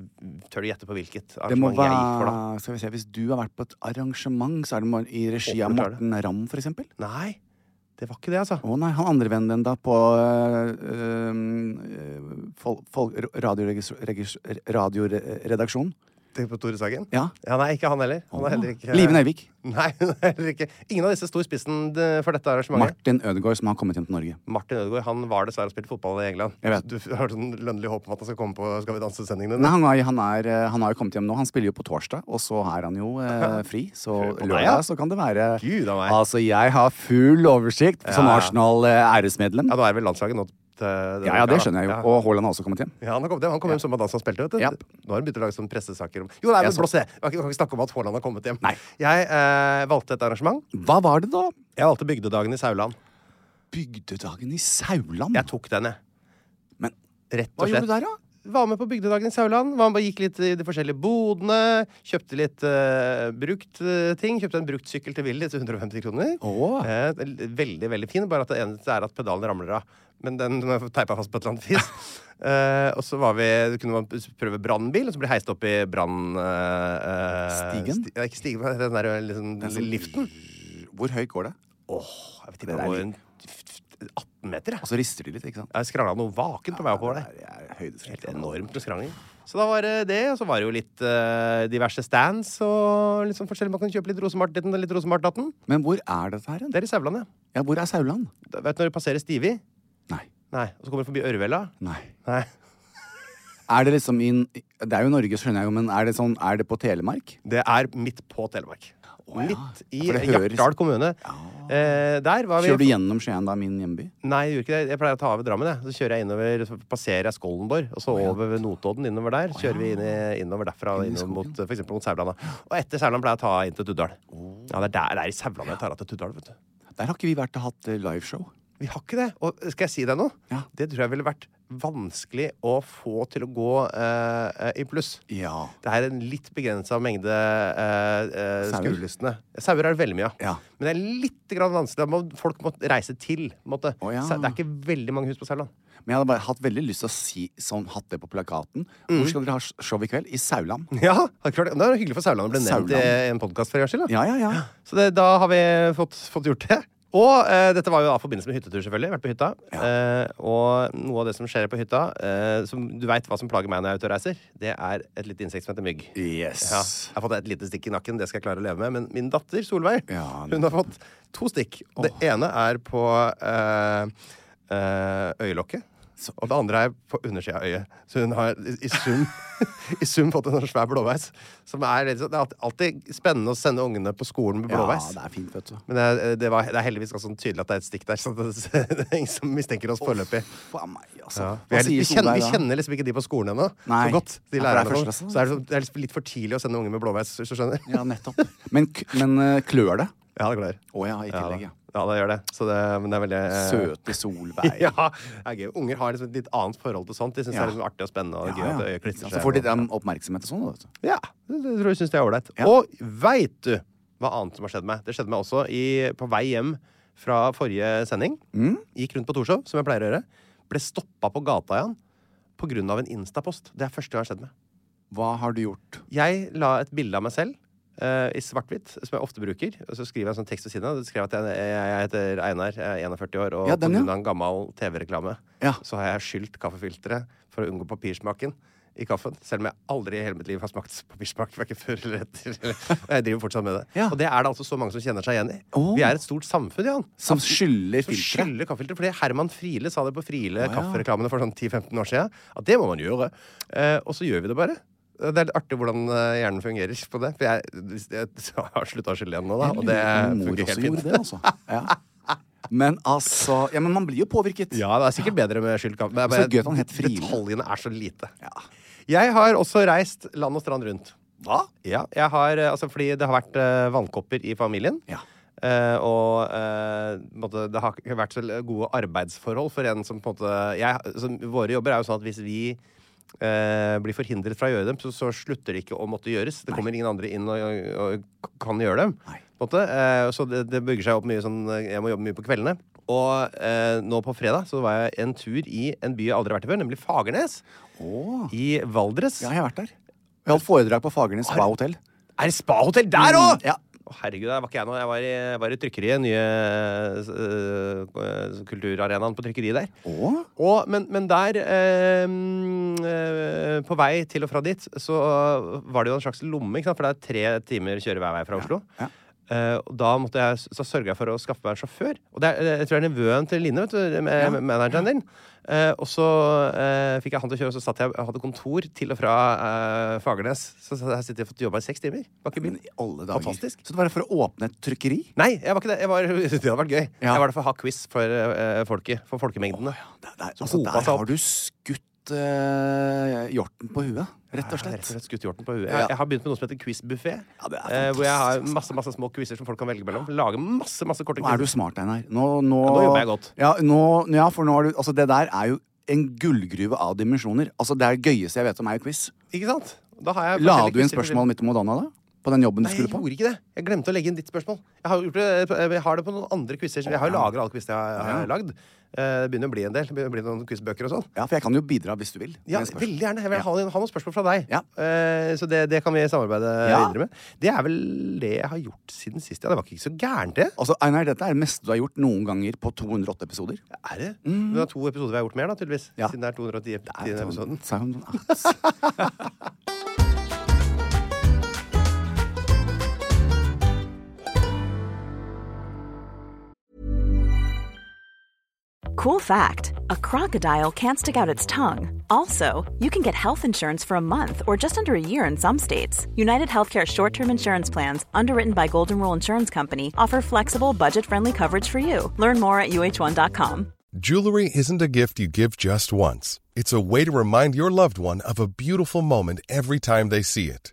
Speaker 2: tør du gjette på hvilket
Speaker 1: Det må
Speaker 2: arrangement
Speaker 1: være
Speaker 2: jeg gikk for, da?
Speaker 1: Skal vi se, Hvis du har vært på et arrangement, så er det må- i regi av
Speaker 2: Håper du tar det.
Speaker 1: Morten Ramm, for eksempel?
Speaker 2: Nei, det var ikke det, altså.
Speaker 1: Å nei, han andre vennen din da på øh, øh, fol, fol, radioregis- regis- radioredaksjonen?
Speaker 2: Tenk på Tore Sagen.
Speaker 1: Ja.
Speaker 2: Nei, ikke han heller. Han er heller ikke
Speaker 1: Live Nelvik.
Speaker 2: *laughs* Nei, hun er heller ikke. Ingen av disse sto i spissen eh, for dette arrangementet.
Speaker 1: Martin Ødegaard, som har kommet hjem til Norge.
Speaker 2: Martin Ødegaard han var dessverre og spilte fotball i England.
Speaker 1: Jeg vet.
Speaker 2: Du har sånn lønnlig håp om at han skal komme på Skal vi danse-sendingen din.
Speaker 1: Nei, han, er, han, er, øh, han har jo kommet hjem nå. Han spiller jo på torsdag, og så er han jo øh, fri. Så
Speaker 2: Fy, på meg, ja.
Speaker 1: lørdag så kan det være
Speaker 2: Gud a meg.
Speaker 1: Altså, jeg har full oversikt som
Speaker 2: Ja, ja.
Speaker 1: Arsenal-æresmedlem.
Speaker 2: Ja, nå er vel landslaget nå til
Speaker 1: Ja, ja, det skjønner jeg jo.
Speaker 2: Ja.
Speaker 1: Og Haaland har også kommet hjem.
Speaker 2: Ja, Han har kommet hjem Han kom hjem som at han spilte. vet du
Speaker 1: Ja.
Speaker 2: Nå har han begynt å lage sånne pressesaker om Jo, nei, men
Speaker 1: Jeg så-
Speaker 2: blås det! Vi kan ikke- kan ikke snakke om at Haaland har kommet hjem.
Speaker 1: Nei.
Speaker 2: Jeg eh, valgte et arrangement.
Speaker 1: Hva var det, da?
Speaker 2: Jeg valgte Bygdedagen i Sauland.
Speaker 1: Bygdedagen i Sauland?
Speaker 2: Jeg tok den, jeg.
Speaker 1: Men
Speaker 2: Rett
Speaker 1: hva
Speaker 2: og
Speaker 1: gjorde
Speaker 2: slett.
Speaker 1: du der, da?
Speaker 2: Var med på Bygdedagen i Sauland. Var med, gikk litt i de forskjellige bodene. Kjøpte litt eh, brukt eh, ting. Kjøpte en bruktsykkel til Willy til 150 kroner.
Speaker 1: Åh.
Speaker 2: Eh, veldig, veldig fin, bare at det eneste er at pedalen ramler av. Men den må jeg teipa fast på et eller annet vis. *laughs* Eh, og så var vi, kunne man prøve brannbil, og så ble heist opp i brann... eh, eh,
Speaker 1: Stigen?
Speaker 2: sti- ja, ikke stigen, men den der liksom, liften.
Speaker 1: Hvor høyt går det?
Speaker 2: Åh, jeg vet
Speaker 1: Det
Speaker 2: ikke, det
Speaker 1: der
Speaker 2: var
Speaker 1: er
Speaker 2: en f- f- 18 meter,
Speaker 1: Og
Speaker 2: jeg.
Speaker 1: så Altså, rister de litt, ikke sant?
Speaker 2: Jeg skrangla noe vakent på vei oppover der.
Speaker 1: Det er
Speaker 2: Helt
Speaker 1: høydeskrekk.
Speaker 2: enormt med skrangling. Så da var det det, og så var det jo litt eh, diverse stands og litt sånn forskjellig. Man kan kjøpe litt rosemart ditten og litt rosemart datten.
Speaker 1: Men hvor er dette her? hen?
Speaker 2: Det er i Sauland, ja.
Speaker 1: Ja, hvor er Sauland?
Speaker 2: Da- Vet du når du passerer Stivi?
Speaker 1: Nei.
Speaker 2: Nei. Og så kommer du forbi Ørvela.
Speaker 1: Nei.
Speaker 2: Nei.
Speaker 1: Er det liksom in... Det er jo Norge, skjønner jeg jo, men er det sånn Er det på Telemark?
Speaker 2: Det er midt på Telemark.
Speaker 1: Å, ja.
Speaker 2: Midt i
Speaker 1: Ja, for det høres-
Speaker 2: Hjartdal kommune. Eh, der var vi
Speaker 1: Kjører du gjennom Skien, da, min hjemby?
Speaker 2: Nei, jeg gjorde ikke det. Jeg pleier å ta over Drammen. Jeg. Så kjører jeg innover, så passerer jeg Skollenborg, og så over ved Notodden innover der. Så kjører vi inn i, innover derfra,
Speaker 1: Inn i
Speaker 2: innover mot, for eksempel mot Sauland. da. Og etter Sauland pleier jeg å ta inn til Tuddal. Ja, det er der det er i Sauland jeg tar av til Tuddal, vet du.
Speaker 1: Der har ikke vi vært og hatt eh, liveshow.
Speaker 2: Vi har ikke det. Og skal jeg si deg noe?
Speaker 1: Ja.
Speaker 2: Det tror jeg ville vært vanskelig å få til å gå eh, eh, i pluss.
Speaker 1: Ja.
Speaker 2: Det er en litt begrensa mengde eh, eh,
Speaker 1: Sauer.
Speaker 2: skuelystne. Sauer er det veldig mye av.
Speaker 1: Ja.
Speaker 2: Men det er litt grann vanskelig. Da må folk må reise til. på en Måte.
Speaker 1: Å, ja.
Speaker 2: Sau- Det er ikke veldig mange hus
Speaker 1: *laughs*
Speaker 2: på Sauland.
Speaker 1: Men jeg hadde bare hatt veldig lyst til å si sånn, hatt det på plakaten. Hvor skal dere ha show i kveld? I Sauland.
Speaker 2: Ja, det er klart. Det er hyggelig for Sauland å bli nevnt i
Speaker 1: Sauland.
Speaker 2: en podkast for en gangs skyld. da.
Speaker 1: *laughs* Ja, ja, ja.
Speaker 2: Så det, da har vi fått, fått gjort det. Og eh, dette var jo da i forbindelse med hyttetur, selvfølgelig. Vært på hytta. Eh, og noe av det som skjer på hytta, eh, som du veit hva som plager meg når jeg er ute og reiser, det er et lite insekt som heter mygg.
Speaker 1: Yes.
Speaker 2: Ja, jeg har fått et lite stikk i nakken, det skal jeg klare å leve med. Men min datter Solveig
Speaker 1: Ja, det-
Speaker 2: hun har fått to stikk. Og det ene er på eh, eh, øyelokket. Og det andre er på undersida av øyet. Så hun har i- i sum, *laughs* i sum fått en sånn svær blåveis. Som er, litt sånn- det er alltid spennende å sende ungene på skolen med blåveis.
Speaker 1: Ja, det er fint, vet du.
Speaker 2: Men det er, det, var, det er heldigvis ganske sånn tydelig at det er et stikk der. Så det, det *laughs* er ingen som mistenker oss foreløpig.
Speaker 1: Faen meg, altså.
Speaker 2: Ja. Vi,
Speaker 1: Hva
Speaker 2: er
Speaker 1: sier
Speaker 2: litt, vi, kjenner,
Speaker 1: Solveig
Speaker 2: vi
Speaker 1: da?
Speaker 2: kjenner liksom ikke de på skolen ennå.
Speaker 1: Nei.
Speaker 2: Så godt. De
Speaker 1: Ja, for det er
Speaker 2: lærerne. og
Speaker 1: første
Speaker 2: sånn.
Speaker 1: klasse.
Speaker 2: Så er det, sånn, det er liksom litt for tidlig å sende unger med blåveis, hvis du skjønner.
Speaker 1: Ja, nettopp. Men, k- men eh, klør det?
Speaker 2: *laughs* Ja, det gleder.
Speaker 1: Å ja, i
Speaker 2: Ja, da.
Speaker 1: tillegg, ja.
Speaker 2: ja, det gjør det. Så det, men det er veldig eh, *laughs*
Speaker 1: Søte *laughs* Solveig.
Speaker 2: Ja, det er gøy. Unger har liksom et litt annet forhold til sånt. De syns
Speaker 1: Ja.
Speaker 2: det er liksom artig og spennende. Og
Speaker 1: Ja,
Speaker 2: gøy
Speaker 1: ja.
Speaker 2: at øyet
Speaker 1: Ikke
Speaker 2: klistrer
Speaker 1: sant?
Speaker 2: seg.
Speaker 1: Så får de den oppmerksomhet og sånn, da, vet du.
Speaker 2: Ja, det, det tror jeg syns det er ålreit.
Speaker 1: Ja.
Speaker 2: Og veit du hva annet som har skjedd meg? Det skjedde meg også i, på vei hjem fra forrige sending.
Speaker 1: Mm.
Speaker 2: Gikk rundt på Torshov, som jeg pleier å gjøre. Ble stoppa på gata igjen pga. en Instapost. Det er første gang det har skjedd meg.
Speaker 1: Hva har du gjort?
Speaker 2: Jeg la et bilde av meg selv eh, i svart-hvitt, som jeg ofte bruker. Og så skriver jeg en sånn tekst ved siden av. Det skrev at jeg, jeg, jeg heter Einar, jeg er 41 år, og
Speaker 1: Ja,
Speaker 2: på
Speaker 1: den,
Speaker 2: grunn
Speaker 1: ja.
Speaker 2: av en gammel TV-reklame
Speaker 1: Ja.
Speaker 2: så har jeg skylt kaffefilteret for å unngå papirsmaken. I kaffen, Selv om jeg aldri i hele mitt liv har smakt papirsmak. Verken før eller etter. *laughs* Og jeg driver fortsatt med det.
Speaker 1: Ja.
Speaker 2: Og det er det altså så mange som kjenner seg igjen i.
Speaker 1: Åh.
Speaker 2: Vi er et stort samfunn, Jan.
Speaker 1: Som skyller
Speaker 2: Som
Speaker 1: filteret?
Speaker 2: skylder kaffefilter. Fordi Herman Friele sa det på Friele
Speaker 1: ja.
Speaker 2: kaffereklamene for sånn 10-15 år siden. At det må man gjøre. Eh, og så gjør vi det bare. Det er litt artig hvordan eh, hjernen fungerer på det. For jeg, hvis- jeg *laughs* har slutta å skylle igjen nå, da. Og det fungerer helt fint.
Speaker 1: Det, altså. ja. Men altså ja, men man blir jo påvirket.
Speaker 2: Ja, det er sikkert bedre med skylt kaffe. men jeg
Speaker 1: Så
Speaker 2: bare-
Speaker 1: gøy at han het Friele.
Speaker 2: Detaljene er så lite.
Speaker 1: Ja.
Speaker 2: Jeg har også reist land og strand rundt.
Speaker 1: Hva?
Speaker 2: Ja, jeg har, eh, altså Fordi det har vært eh, vannkopper i familien.
Speaker 1: Ja.
Speaker 2: Eh, og eh, på en måte, det har ikke vært så gode arbeidsforhold for en som på en måte jeg, som, Våre jobber er jo sånn at hvis vi eh, blir forhindret fra å gjøre dem, så, så slutter det ikke å måtte gjøres. Det kommer ingen andre inn og, og, og kan gjøre dem.
Speaker 1: Nei.
Speaker 2: På en måte. Eh, så det, det bygger seg opp mye sånn eh, Jeg må jobbe mye på kveldene. Og eh, nå på fredag så var jeg en tur i en by jeg aldri har vært i før, nemlig Fagernes. I Valdres.
Speaker 1: Ja, jeg har vært der. Jeg holdt foredrag på Fagernes Spa hotell.
Speaker 2: Er det spahotell der òg?!
Speaker 1: Ja.
Speaker 2: Å, herregud, der var ikke jeg nå. Jeg var i, jeg var i trykkeriet. Nye eh, eh, kulturarenaen på trykkeriet der.
Speaker 1: Å?
Speaker 2: Og, men, men der eh, mm, eh, På vei til og fra dit så eh, var det jo en slags lomme, ikke sant? for det er tre timer kjøre hver vei fra Oslo. Eh, og da måtte jeg, så sørga jeg for å skaffe meg en sjåfør. Og det er, eh, jeg tror det er nevøen til Line, vet du, med, med manageren din. Eh, og så eh, fikk jeg han til å kjøre, og så satt jeg, jeg hadde kontor til og fra eh, Fagernes. Så satt jeg- jeg sitter og fått jobba i seks timer bak i
Speaker 1: Men
Speaker 2: bilen.
Speaker 1: i alle dager.
Speaker 2: Fantastisk.
Speaker 1: Så det var for å åpne et trykkeri?
Speaker 2: Nei, jeg var ikke det. Jeg var, *laughs* det hadde vært gøy.
Speaker 1: Ja.
Speaker 2: Jeg var der for å ha quiz for eh, folket. For folkemengdene.
Speaker 1: Der, der,
Speaker 2: Så
Speaker 1: altså,
Speaker 2: hopa
Speaker 1: der
Speaker 2: seg opp.
Speaker 1: har du skutt eh, hjorten på huet, rett og
Speaker 2: Jeg har rett
Speaker 1: slett.
Speaker 2: og slett skutt hjorten på huet.
Speaker 1: Ja.
Speaker 2: Jeg, jeg har begynt med noe som heter quizbuffé.
Speaker 1: Ja, det er
Speaker 2: eh, hvor jeg har
Speaker 1: fantastisk. altså.
Speaker 2: masse masse små quizer som folk kan velge mellom. Lager masse masse korte
Speaker 1: Nå er du
Speaker 2: quizer.
Speaker 1: smart, Einar. Nå, nå,
Speaker 2: Ja, nå jobber jeg godt.
Speaker 1: Ja, nå, ja, for nå har du Altså, det der er jo en gullgruve av dimensjoner. Altså, Det er det gøyeste jeg vet om er jo quiz.
Speaker 2: Ikke sant? Da har jeg
Speaker 1: La
Speaker 2: forskjellige
Speaker 1: du inn
Speaker 2: quizer for-
Speaker 1: spørsmål midt om Madonna, da? På den jobben du
Speaker 2: Nei, jeg
Speaker 1: skulle på?
Speaker 2: gjorde ikke det. Jeg glemte å legge inn ditt spørsmål. Jeg har, gjort det, eh, jeg har det på noen andre quizer. Jeg har jo lagra alle quizer jeg har, jeg har lagd. Eh, Det begynner å bli en del. Det begynner å bli noen quizbøker og sånn.
Speaker 1: Ja, for jeg kan jo bidra hvis du vil.
Speaker 2: Ja,
Speaker 1: med spørsmål.
Speaker 2: veldig gjerne. Jeg vil
Speaker 1: Ja.
Speaker 2: ha, ha noen spørsmål fra deg.
Speaker 1: Ja.
Speaker 2: Eh, så det, det kan vi samarbeide
Speaker 1: Ja.
Speaker 2: videre med. Det er vel det jeg har gjort siden sist. Ja, det var ikke så gærent, det.
Speaker 1: Altså, Einar, dette er det meste du har gjort noen ganger på 208 episoder.
Speaker 2: Er det? Det er to episoder Mm. vi har gjort mer, da, tydeligvis.
Speaker 1: Mm. Ja.
Speaker 2: Siden det er sånn. 210 episoder. episoden.
Speaker 1: Sound-
Speaker 3: Cool fact a crocodile can't stick out its tongue. Also, you can get health insurance for a month or just under a year in some states. United Healthcare short term insurance plans, underwritten by Golden Rule Insurance Company, offer flexible, budget friendly coverage for you. Learn more at uh1.com.
Speaker 4: Jewelry isn't a gift you give just once. It's a way to remind your loved one of a beautiful moment every time they see it.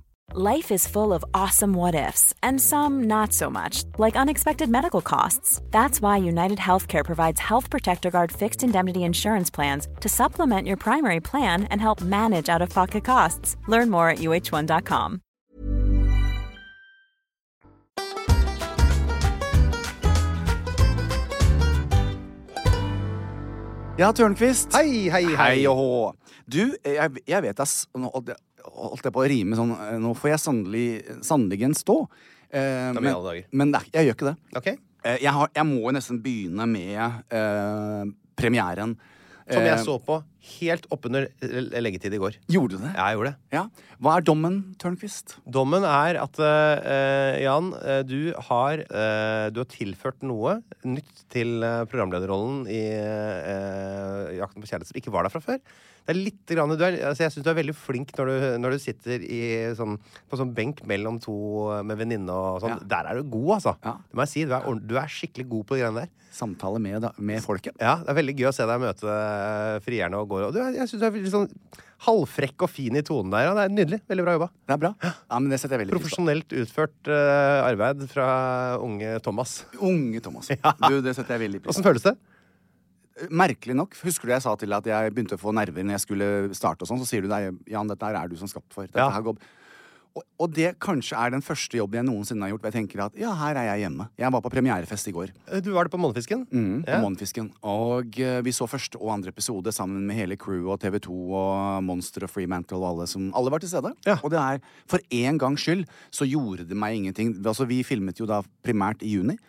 Speaker 3: Life is full of awesome what ifs, and some not so much, like unexpected medical costs. That's why United Healthcare provides Health Protector Guard fixed indemnity insurance plans to supplement your primary plan and help manage out of pocket costs. Learn more at uh1.com.
Speaker 1: Ja, Tørnquist.
Speaker 2: Hei, hei, hei.
Speaker 1: Hei og hå. Du, jeg, jeg vet ass Nå holdt jeg- holdt jeg på å rime sånn eh, Nå får jeg sannelig, sanneligen stå. Eh,
Speaker 2: men
Speaker 1: men
Speaker 2: i alle dager.
Speaker 1: men det er- jeg gjør ikke det.
Speaker 2: Ok.
Speaker 1: Eh, jeg, har, jeg må jo nesten begynne med eh, premieren.
Speaker 2: Som
Speaker 1: Eh,
Speaker 2: jeg så på helt oppunder eh, leggetid i går.
Speaker 1: Gjorde du det?
Speaker 2: Ja, jeg gjorde det.
Speaker 1: Ja. Hva er dommen, Tørnquist?
Speaker 2: Dommen er at eh, Jan, eh, du har, eh, du har tilført noe nytt til eh, programlederrollen i eh, Jakten på kjærlighet som ikke var der fra før. Det er litt grann, du er, altså jeg syns du er veldig flink når du, når du sitter i, sånn, på sånn benk mellom to eh, med venninne og sånn. Der er du god, altså.
Speaker 1: Ja.
Speaker 2: Det må jeg si. Du er, ordent- du er skikkelig god på de greiene der.
Speaker 1: Samtale med, da- med folket.
Speaker 2: Ja, Det er veldig gøy å se deg møte eh, frierne og gå. Og du, er- jeg syns du er veldig sånn halvfrekk og fin i tonen der. Ja, det er Nydelig. Veldig bra jobba.
Speaker 1: Det er bra. Ja, men det setter jeg veldig pris på.
Speaker 2: Profesjonelt utført eh, arbeid fra unge Thomas.
Speaker 1: Unge Thomas. Du, det setter jeg veldig pris
Speaker 2: Åssen føles det?
Speaker 1: på. Merkelig nok, husker du jeg sa til deg at jeg begynte å få nerver når jeg skulle starte og sånn, så sier du deg, Jan, dette her er du som skapt for. Dette
Speaker 2: Ja.
Speaker 1: her går... Og, og det kanskje er den første jobben jeg noensinne har gjort, hvor jeg tenker at ja, her er jeg hjemme. Jeg var på premierefest i går.
Speaker 2: Eh, Du var det på Månefisken?
Speaker 1: Mm, på Månefisken. Og eh, vi så første og andre episode sammen med hele crew og TV2 og Monster og Freemantle og alle som Alle var til stede.
Speaker 2: Ja.
Speaker 1: Og det er for én gangs skyld så gjorde det meg ingenting. Altså, vi filmet jo da primært i juni.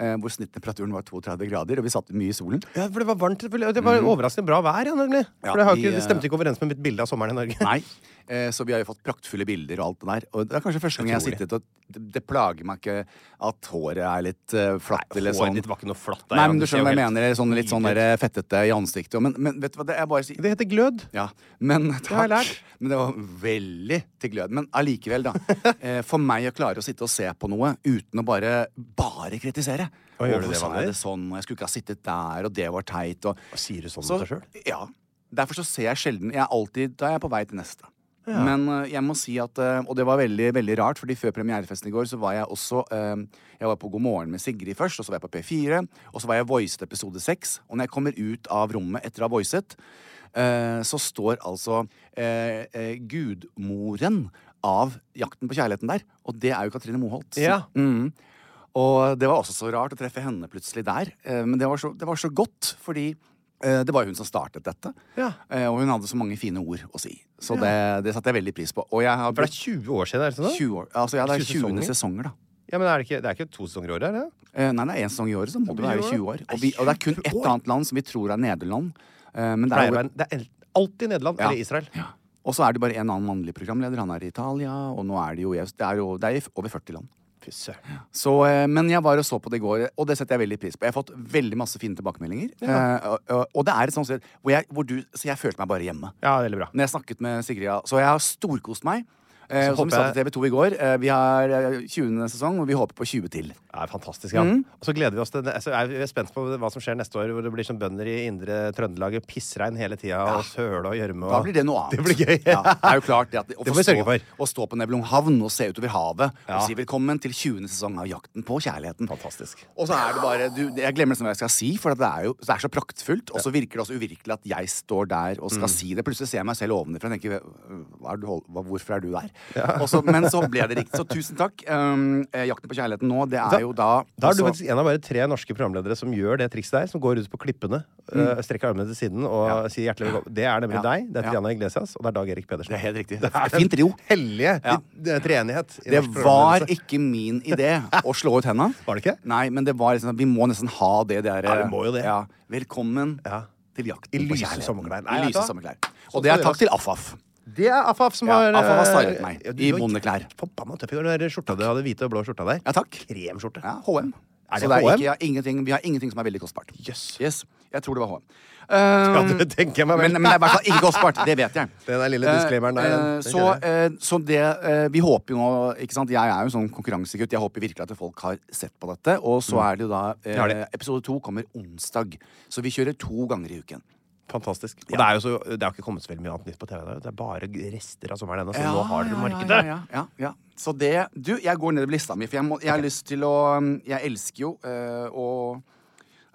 Speaker 1: eh, hvor snittemperaturen var 32 grader, og vi satt mye i
Speaker 2: *laughs*
Speaker 1: solen.
Speaker 2: Ja, for det var varmt. selvfølgelig. Det var overraskende bra vær. Ja, nemlig.
Speaker 1: Mhm. Ja,
Speaker 2: for det, har ikke,
Speaker 1: vi,
Speaker 2: det stemte ikke overens med mitt bilde av sommeren
Speaker 1: *laughs*
Speaker 2: i Norge.
Speaker 1: Nei. Eh, så vi har jo fått praktfulle bilder og alt det der. Og det er kanskje første gang jeg har
Speaker 2: Utrolig.
Speaker 1: sittet og Det, det plager meg ikke at håret er litt eh, flatt eller sånn.
Speaker 2: Håret ditt var ikke noe flatt. der,
Speaker 1: Nei,
Speaker 2: Jan.
Speaker 1: men du
Speaker 2: ser jo
Speaker 1: skjønner hva jeg
Speaker 2: helt
Speaker 1: mener. Sånn, litt sånn
Speaker 2: nydelig
Speaker 1: der, fettete i ansiktet. og- Men, men vet du hva, det er bare å si
Speaker 2: ut. Det heter glød.
Speaker 1: Ja, men
Speaker 2: har jeg
Speaker 1: takk.
Speaker 2: lært.
Speaker 1: Men det var veldig til glød. Men allikevel, da.
Speaker 2: *laughs*
Speaker 1: eh, For meg å klare å sitte og se på noe uten å bare bare kritisere.
Speaker 2: Og gjør
Speaker 1: Hvorfor
Speaker 2: du det,
Speaker 1: sa
Speaker 2: Wander?
Speaker 1: jeg det sånn, og jeg skulle ikke ha sittet der, og det var teit, og
Speaker 2: Sier du sånn
Speaker 1: så,
Speaker 2: om deg sjøl?
Speaker 1: Ja. Derfor så ser jeg sjelden jeg er alltid, Da er jeg på vei til neste. Men eh, jeg må si at eh, Og det var veldig veldig rart, fordi før premierefesten i går så var jeg også eh, Jeg var på God morgen med Sigrid først, og så var jeg på P4, og så var jeg voicet episode 6. Og når jeg kommer ut av rommet etter å ha voicet, eh, så står altså eh, eh, gudmoren av Jakten på kjærligheten der. Og det er jo Katrine Moholt.
Speaker 2: Ja.
Speaker 1: Mhm. Og det var også så rart å treffe henne plutselig der. Eh, Men det var så, det var så godt, fordi eh, det var jo hun som startet dette.
Speaker 2: Ja.
Speaker 1: Eh, Og hun hadde så mange fine ord å si. Så det, det satte jeg veldig pris på. Og jeg har
Speaker 2: For det
Speaker 1: brukt
Speaker 2: er 20 år siden? er det sånn da?
Speaker 1: 20 år Altså, ja, det er 20
Speaker 2: 20 sesonger?
Speaker 1: sesonger, da.
Speaker 2: Ja, men er det, ikke, det er ikke to sesonger i året? er det?
Speaker 1: Eh, Nei, det er én sesong i året, så må du
Speaker 2: blir
Speaker 1: være
Speaker 2: jo-
Speaker 1: 20 år. Og, vi, og det er kun
Speaker 2: 20
Speaker 1: ett
Speaker 2: år.
Speaker 1: annet land som vi tror er Nederland. Eh, Men det
Speaker 2: Pleier
Speaker 1: er
Speaker 2: å
Speaker 1: jo
Speaker 2: være- Det er el- alltid Nederland
Speaker 1: Ja.
Speaker 2: eller Israel.
Speaker 1: ja. Og så er det bare en annen mannlig programleder. Han er i Italia, og nå er det jo, i- det er jo det er i over 40 land.
Speaker 2: Fy søren.
Speaker 1: Så, eh, men jeg var og så på det i går, og det setter jeg veldig pris på. Jeg har fått veldig masse fine tilbakemeldinger. Eh, og- og, og det er et sånt sted hvor jeg, hvor du, Så jeg følte meg bare hjemme.
Speaker 2: Ja, veldig bra.
Speaker 1: Når jeg snakket med Sigrid, ja. så jeg har storkost meg. Eh,
Speaker 2: Så
Speaker 1: som vi
Speaker 2: håper
Speaker 1: sa til TV 2 i går, eh, vi har eh, 20. sesong, og vi håper på 20 til.
Speaker 2: Det er fantastisk, ja.
Speaker 1: Mm.
Speaker 2: Og så gleder vi oss til altså, Jeg er spent på hva som skjer neste år, hvor det blir sånn bønder i indre Trøndelag og pissregn hele tida, og søle og gjørme og
Speaker 1: Da blir det noe annet.
Speaker 2: Det blir gøy.
Speaker 1: Ja, det er jo klart det at å
Speaker 2: *laughs* Det
Speaker 1: få
Speaker 2: må vi
Speaker 1: stå,
Speaker 2: sørge for.
Speaker 1: Å stå på Nebelunghavn og se utover havet
Speaker 2: Ja.
Speaker 1: og si velkommen til 20. sesong av Jakten på kjærligheten.
Speaker 2: Fantastisk.
Speaker 1: Og så er det bare du, Jeg glemmer nesten hva jeg skal si, for at det er jo det er så praktfullt. Og så virker det også uvirkelig at jeg står der og skal
Speaker 2: Mm.
Speaker 1: si det. Plutselig ser jeg meg selv ovenfra og tenker hva er du, hold- hva, Hvorfor er du der? Og så, men så ble det
Speaker 2: *laughs*
Speaker 1: riktig. Så tusen takk. Um, eh, Jakten på kjærligheten nå, det er jo da
Speaker 2: Da er du
Speaker 1: altså-
Speaker 2: faktisk en av bare tre norske programledere som gjør det trikset der. Som går ut på klippene, øh, strekker armene til siden og sier hjertelig velkommen. Det er nemlig
Speaker 1: Mm. Ja.
Speaker 2: deg, det er
Speaker 1: Ja.
Speaker 2: Triana Iglesias, og det er Dag Erik Pedersen.
Speaker 1: Det er helt riktig. Det er fint trio.
Speaker 2: Hellige
Speaker 1: Ja.
Speaker 2: de- treenighet. i
Speaker 1: Det
Speaker 2: norsk
Speaker 1: var
Speaker 2: programledelse.
Speaker 1: ikke min idé å slå ut henda.
Speaker 2: *laughs* Var det ikke?
Speaker 1: Nei, men det var liksom, at vi må nesten ha det der
Speaker 2: Ja, vi må jo det.
Speaker 1: Ja. Velkommen
Speaker 2: Ja.
Speaker 1: til jakten
Speaker 2: I
Speaker 1: på
Speaker 2: lyse
Speaker 1: kjærligheten.
Speaker 2: sommerklær. Nei,
Speaker 1: I
Speaker 2: vet du
Speaker 1: lyse
Speaker 2: hva?
Speaker 1: sommerklær.
Speaker 2: Sånn
Speaker 1: Og det
Speaker 2: skal
Speaker 1: er takk til Affaf.
Speaker 2: Det er Afaf som
Speaker 1: Ja,
Speaker 2: har
Speaker 1: Afaf har
Speaker 2: øh,
Speaker 1: stylet meg
Speaker 2: ja, du
Speaker 1: i
Speaker 2: var
Speaker 1: bondeklær.
Speaker 2: Forbanna tøff i går. Den der skjorta du hadde, hvite og blå skjorta der.
Speaker 1: Ja, takk.
Speaker 2: Kremskjorte.
Speaker 1: Ja, HM.
Speaker 2: Er det
Speaker 1: Så det er
Speaker 2: HM?
Speaker 1: ikke, ja, ingenting, vi har ingenting som er veldig kostbart.
Speaker 2: Jøss.
Speaker 1: Yes. Jeg tror det var H.
Speaker 2: Ja,
Speaker 1: Eh,
Speaker 2: det tenker jeg meg
Speaker 1: men,
Speaker 2: vel.
Speaker 1: men det er i hvert fall ikke Gospart. Det vet
Speaker 2: *laughs*
Speaker 1: jeg.
Speaker 2: Den der lille disclaimeren der,
Speaker 1: Eh,
Speaker 2: den-
Speaker 1: eh,
Speaker 2: den
Speaker 1: så,
Speaker 2: kjenner
Speaker 1: eh, så det eh, Vi håper jo nå ikke sant? Jeg er jo en sånn konkurransegutt. Jeg håper virkelig at folk har sett på dette. Og så er det jo da eh,
Speaker 2: Ja, Mm. det-
Speaker 1: Episode to kommer onsdag. Så vi kjører to ganger i uken.
Speaker 2: Fantastisk. Og det er jo så, det har ikke kommet så veldig mye annet nytt på TV. Det er- det er bare rester av sommeren ennå, så nå har dere markedet.
Speaker 1: Ja, ja, ja, ja. Så det Du, jeg går nedover lista mi, for jeg, må, jeg har lyst til å mm, Jeg elsker jo eh, å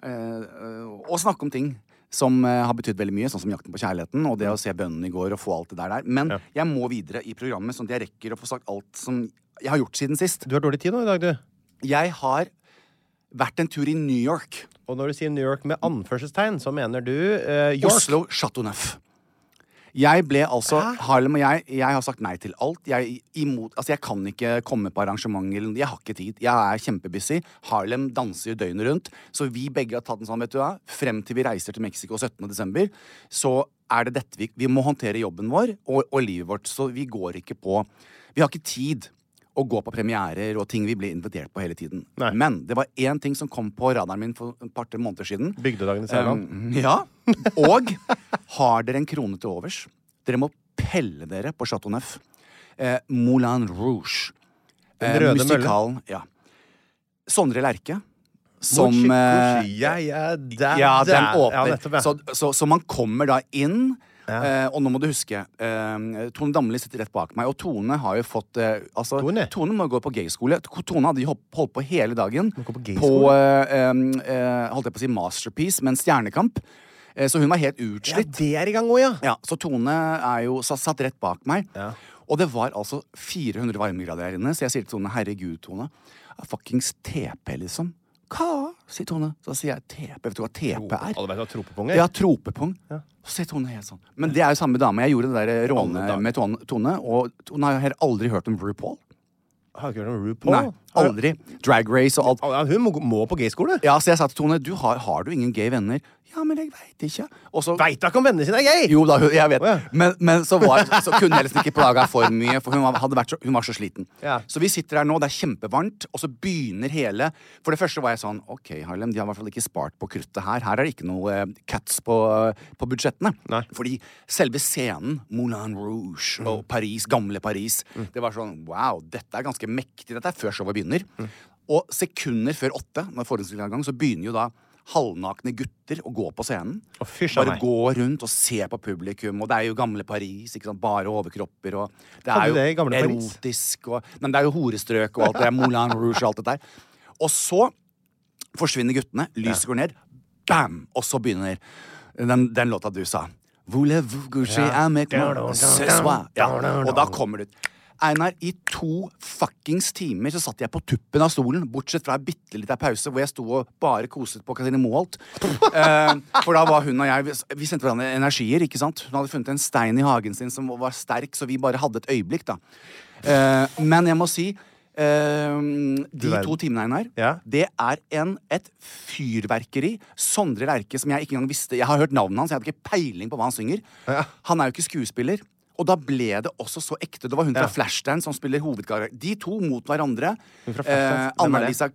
Speaker 1: eh, Å snakke om ting som eh, har betydd veldig mye, sånn som Jakten på kjærligheten og det å se bønnen i går og få alt det der der. Men jeg må videre i programmet, sånn at jeg rekker å få sagt alt som jeg har gjort siden sist.
Speaker 2: Du har dårlig tid nå i dag, du.
Speaker 1: Jeg har vært en tur i New York.
Speaker 2: Og når du sier New York med anførselstegn, så mener du eh, York.
Speaker 1: Oslo Chateau Neuf. Jeg ble altså Harlem og jeg Jeg har sagt nei til alt. Jeg, imot, altså jeg kan ikke komme på arrangement. Eller, jeg har ikke tid. Jeg er kjempebusy. Harlem danser jo døgnet rundt. Så vi begge har tatt en sånn, vet du hva. Frem til vi reiser til Mexico 17.12., så er det dette vi Vi må håndtere jobben vår og, og livet vårt. Så vi går ikke på Vi har ikke tid å gå på premierer og ting vi blir invitert på hele tiden.
Speaker 2: Nei.
Speaker 1: Men det var én ting som kom på radaren min for et par-tre måneder siden.
Speaker 2: Bygdedagen i Særland.
Speaker 1: Mm, *laughs* Ja. Og har dere en krone til overs? Dere må pelle dere på Chateau Neuf. Eh, Moulin Rouge.
Speaker 2: Den røde
Speaker 1: musikalen. Ja. Sondre Lerche. Som eh,
Speaker 2: ja, ja, da,
Speaker 1: ja, den
Speaker 2: da. Ja,
Speaker 1: åpner.
Speaker 2: nettopp, ja.
Speaker 1: så, så, så man kommer da inn. Eh, og nå må du huske eh, Tone Damli sitter rett bak meg, og Tone har jo fått eh, altså,
Speaker 2: Tone?
Speaker 1: må jo gå på gayskole. Tone hadde jo hopp- holdt på hele dagen
Speaker 2: gå på
Speaker 1: på
Speaker 2: gayskole?
Speaker 1: eh, eh, Holdt jeg på å si Masterpiece, men Stjernekamp. Eh, så hun var helt
Speaker 2: ja,
Speaker 1: utslitt.
Speaker 2: det er i gang òg, ja.
Speaker 1: Ja, så Tone er jo sa- satt rett bak meg.
Speaker 2: Ja.
Speaker 1: Og det var altså 400 varmegrader her inne, så jeg sier til Tone 'herregud, Tone'. Ah, Fuckings TP, liksom. Hva? sier Tone. Så sier jeg TP. Vet du hva TP er?
Speaker 2: Alle vet hva tropepung er.
Speaker 1: Ja, tropepung. Og så er Tone helt sånn. Men det er jo samme dame. Jeg gjorde det der
Speaker 2: Alle
Speaker 1: råne
Speaker 2: dager.
Speaker 1: med Tone, Tone, og Tone har heller aldri hørt om RuPaul.
Speaker 2: Har ikke hørt om RuPaul.
Speaker 1: Nei, aldri. Drag race og alt.
Speaker 2: Ja, hun må, må på gayskole.
Speaker 1: Ja, så jeg sa til Tone, du har, har du ingen gay venner? Ja, men jeg veit ikke. Og så
Speaker 2: Veit da ikke om vennene sine er gay!
Speaker 1: Jo da, hun- jeg vet.
Speaker 2: Å, ja.
Speaker 1: Men, men så, var, så kunne jeg liksom ikke plaga for mye, for hun var, hadde vært så, hun var så sliten.
Speaker 2: Ja.
Speaker 1: Så vi sitter her nå, det er kjempevarmt, og så begynner hele For det første var jeg sånn OK, Harlem, de har i hvert fall ikke spart på kruttet her. Her er det ikke noe eh, cuts på, på budsjettene.
Speaker 2: Nei.
Speaker 1: Fordi selve scenen, Moulin Rouge og
Speaker 2: Mm.
Speaker 1: Paris, gamle Paris, det var sånn wow, dette er ganske mektig. Dette er før showet begynner.
Speaker 2: Mm.
Speaker 1: Og sekunder før åtte, når forestillingen er i gang, så begynner jo da halvnakne gutter å gå på scenen.
Speaker 2: Å, fysj a
Speaker 1: Bare
Speaker 2: meg.
Speaker 1: gå rundt og se på publikum, og det er jo gamle Paris. ikke sant? Bare overkropper, og det
Speaker 2: Hadde
Speaker 1: er
Speaker 2: det i
Speaker 1: jo
Speaker 2: gamle Paris?
Speaker 1: erotisk og Men det er jo horestrøk og alt det der. Moulin Rouge og alt det der. Og så forsvinner guttene, lyset går ned, bam! Og så begynner den, den låta du sa. Voulez-vous coucher avec moi ce soir? Ja, og da kommer det ut. Einar, i to fuckings timer så satt jeg på tuppen av stolen, bortsett fra en bitte liten pause hvor jeg sto og bare koset på Katrine Moholt. Eh, for da var hun og jeg Vi vi sendte hverandre energier, ikke sant? Hun hadde funnet en stein i hagen sin som var sterk, så vi bare hadde et øyeblikk, da. Eh, men jeg må si eh, De
Speaker 2: verden.
Speaker 1: to timene, Einar,
Speaker 2: Ja.
Speaker 1: det er en, et fyrverkeri. Sondre Lerche, som jeg ikke engang visste Jeg har hørt navnet hans, jeg hadde ikke peiling på hva han synger. Han er jo ikke skuespiller. Og da ble det også så ekte. Det var hun fra Flashdance som spiller hovedkarakteren. De to mot hverandre.
Speaker 2: fra Flashdance? Hvem er det?
Speaker 1: Anna-Lisa eh,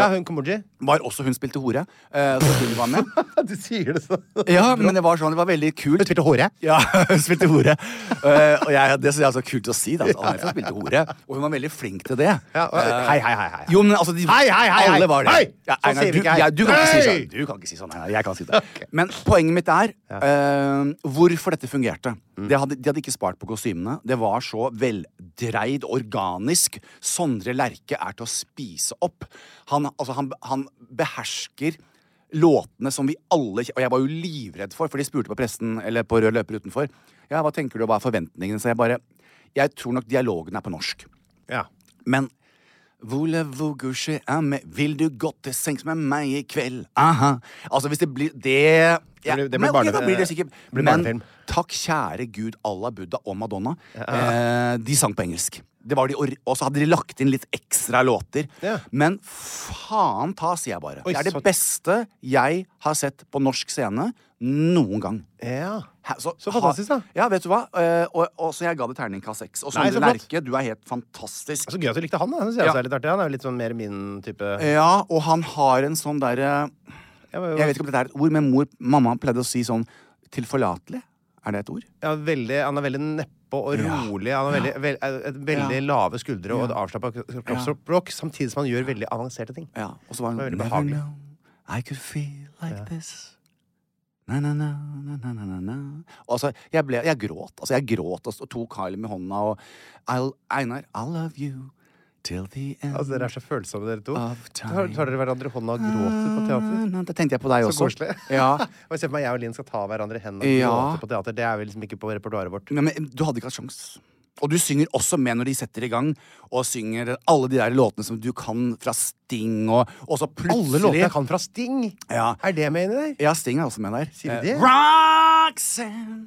Speaker 2: Ja, hun Kamuji.
Speaker 1: var også Hun spilte hore. eh, så hun var med.
Speaker 2: *laughs* Du sier det sånn.
Speaker 1: Ja, men det var sånn, det var veldig kult.
Speaker 2: Hun spilte hore.
Speaker 1: Ja, *laughs* hun spilte hore. Eh, og jeg, det synes jeg er så kult å si. Da. at Anna-Lisa spilte hore. Og hun var veldig flink til det.
Speaker 2: Ja, og-
Speaker 1: Eh,
Speaker 2: hei, hei, hei, hei.
Speaker 1: Jo, men altså de,
Speaker 2: Hei, hei, hei, hei.
Speaker 1: Alle var det.
Speaker 2: Hei!
Speaker 1: Ja,
Speaker 2: Sånn
Speaker 1: Einar,
Speaker 2: sier vi
Speaker 1: du,
Speaker 2: ikke her.
Speaker 1: ja, du kan ikke si
Speaker 2: Hei!
Speaker 1: sånn. Du kan ikke si sånn, Einar. Jeg kan si det. Men poenget mitt er eh, hvorfor dette fungerte.
Speaker 2: Mm.
Speaker 1: Det hadde, de hadde ikke spart på kostymene. Det var så veldreid, organisk. Sondre Lerche er til å spise opp. Han, altså, han, han behersker låtene som vi alle Og jeg var jo livredd for, for de spurte på pressen eller på rød løper utenfor. Ja, hva tenker du, hva er forventningene? Så jeg bare Jeg tror nok dialogen er på norsk.
Speaker 2: Ja.
Speaker 1: Men Voulez-vous coucher avec Vil du gå til sengs med meg i kveld? Aha. Altså, hvis det blir Det ja,
Speaker 2: blir- det blir
Speaker 1: men, ok,
Speaker 2: barne-
Speaker 1: da blir det sikkert
Speaker 2: det blir barnefilm.
Speaker 1: Men takk kjære Gud, Allah, Buddha og Madonna. Eh, de sang på engelsk. Det var de, or- og så hadde de lagt inn litt ekstra låter.
Speaker 2: Ja.
Speaker 1: Men faen ta, sier jeg bare.
Speaker 2: Oi,
Speaker 1: det er det
Speaker 2: så-
Speaker 1: beste jeg har sett på norsk scene noen gang.
Speaker 2: ja.
Speaker 1: Hæ,
Speaker 2: Så fantastisk, da.
Speaker 1: Ja, vet du hva? Eh, og, og så jeg ga det terningkast seks. Og
Speaker 2: Nei,
Speaker 1: Sondre
Speaker 2: så flott.
Speaker 1: Lerche, du er helt fantastisk.
Speaker 2: Så gøy at du likte han. da. Han synes jeg
Speaker 1: Ja.
Speaker 2: også er litt artig. Han er jo litt sånn mer min type
Speaker 1: Ja, og han har en sånn derre
Speaker 2: jeg-
Speaker 1: Eh, Jeg vet ikke om dette er et ord, men mor, mamma pleide å si sånn tilforlatelig. Er det et ord?
Speaker 2: Ja, veldig, han er veldig neppe og
Speaker 1: Ja.
Speaker 2: rolig. Han har veldig, vel, eh, et veldig lave skuldre og et avslappa kroppsspråk, samtidig som han gjør veldig avanserte ting.
Speaker 1: Ja. Og så var hun
Speaker 2: Det var veldig
Speaker 1: Never
Speaker 2: behagelig.
Speaker 1: know I could feel like this. Na, na, na, na, na, na, na, na. Og Altså, jeg, ble, jeg gråt. Altså, jeg gråt og, og tok Harlem i hånda og I'll, Einar, I'll love you till the end.
Speaker 2: Altså, Dere er så følsomme, dere to.
Speaker 1: Of
Speaker 2: Tar,
Speaker 1: time.
Speaker 2: tar dere hverandre i hånda og gråter på teater?
Speaker 1: Na, na, Det tenkte jeg på deg
Speaker 2: Så
Speaker 1: også.
Speaker 2: koselig.
Speaker 1: Ja.
Speaker 2: *laughs* Og Se for meg jeg og Linn skal ta hverandre i hendene og
Speaker 1: Ja.
Speaker 2: gråte på teater. Det er vel liksom ikke på repertoaret vårt.
Speaker 1: Ja, men du hadde ikke hatt sjans. Og du synger også med når de setter i gang, og synger alle de der låtene som du kan fra Sting, og, og så plutselig
Speaker 2: Alle låtene jeg kan fra Sting!
Speaker 1: Ja.
Speaker 2: Er det med inni der?
Speaker 1: Ja, Sting er også med der. Eh,
Speaker 2: Sier du det?
Speaker 1: Roxanne!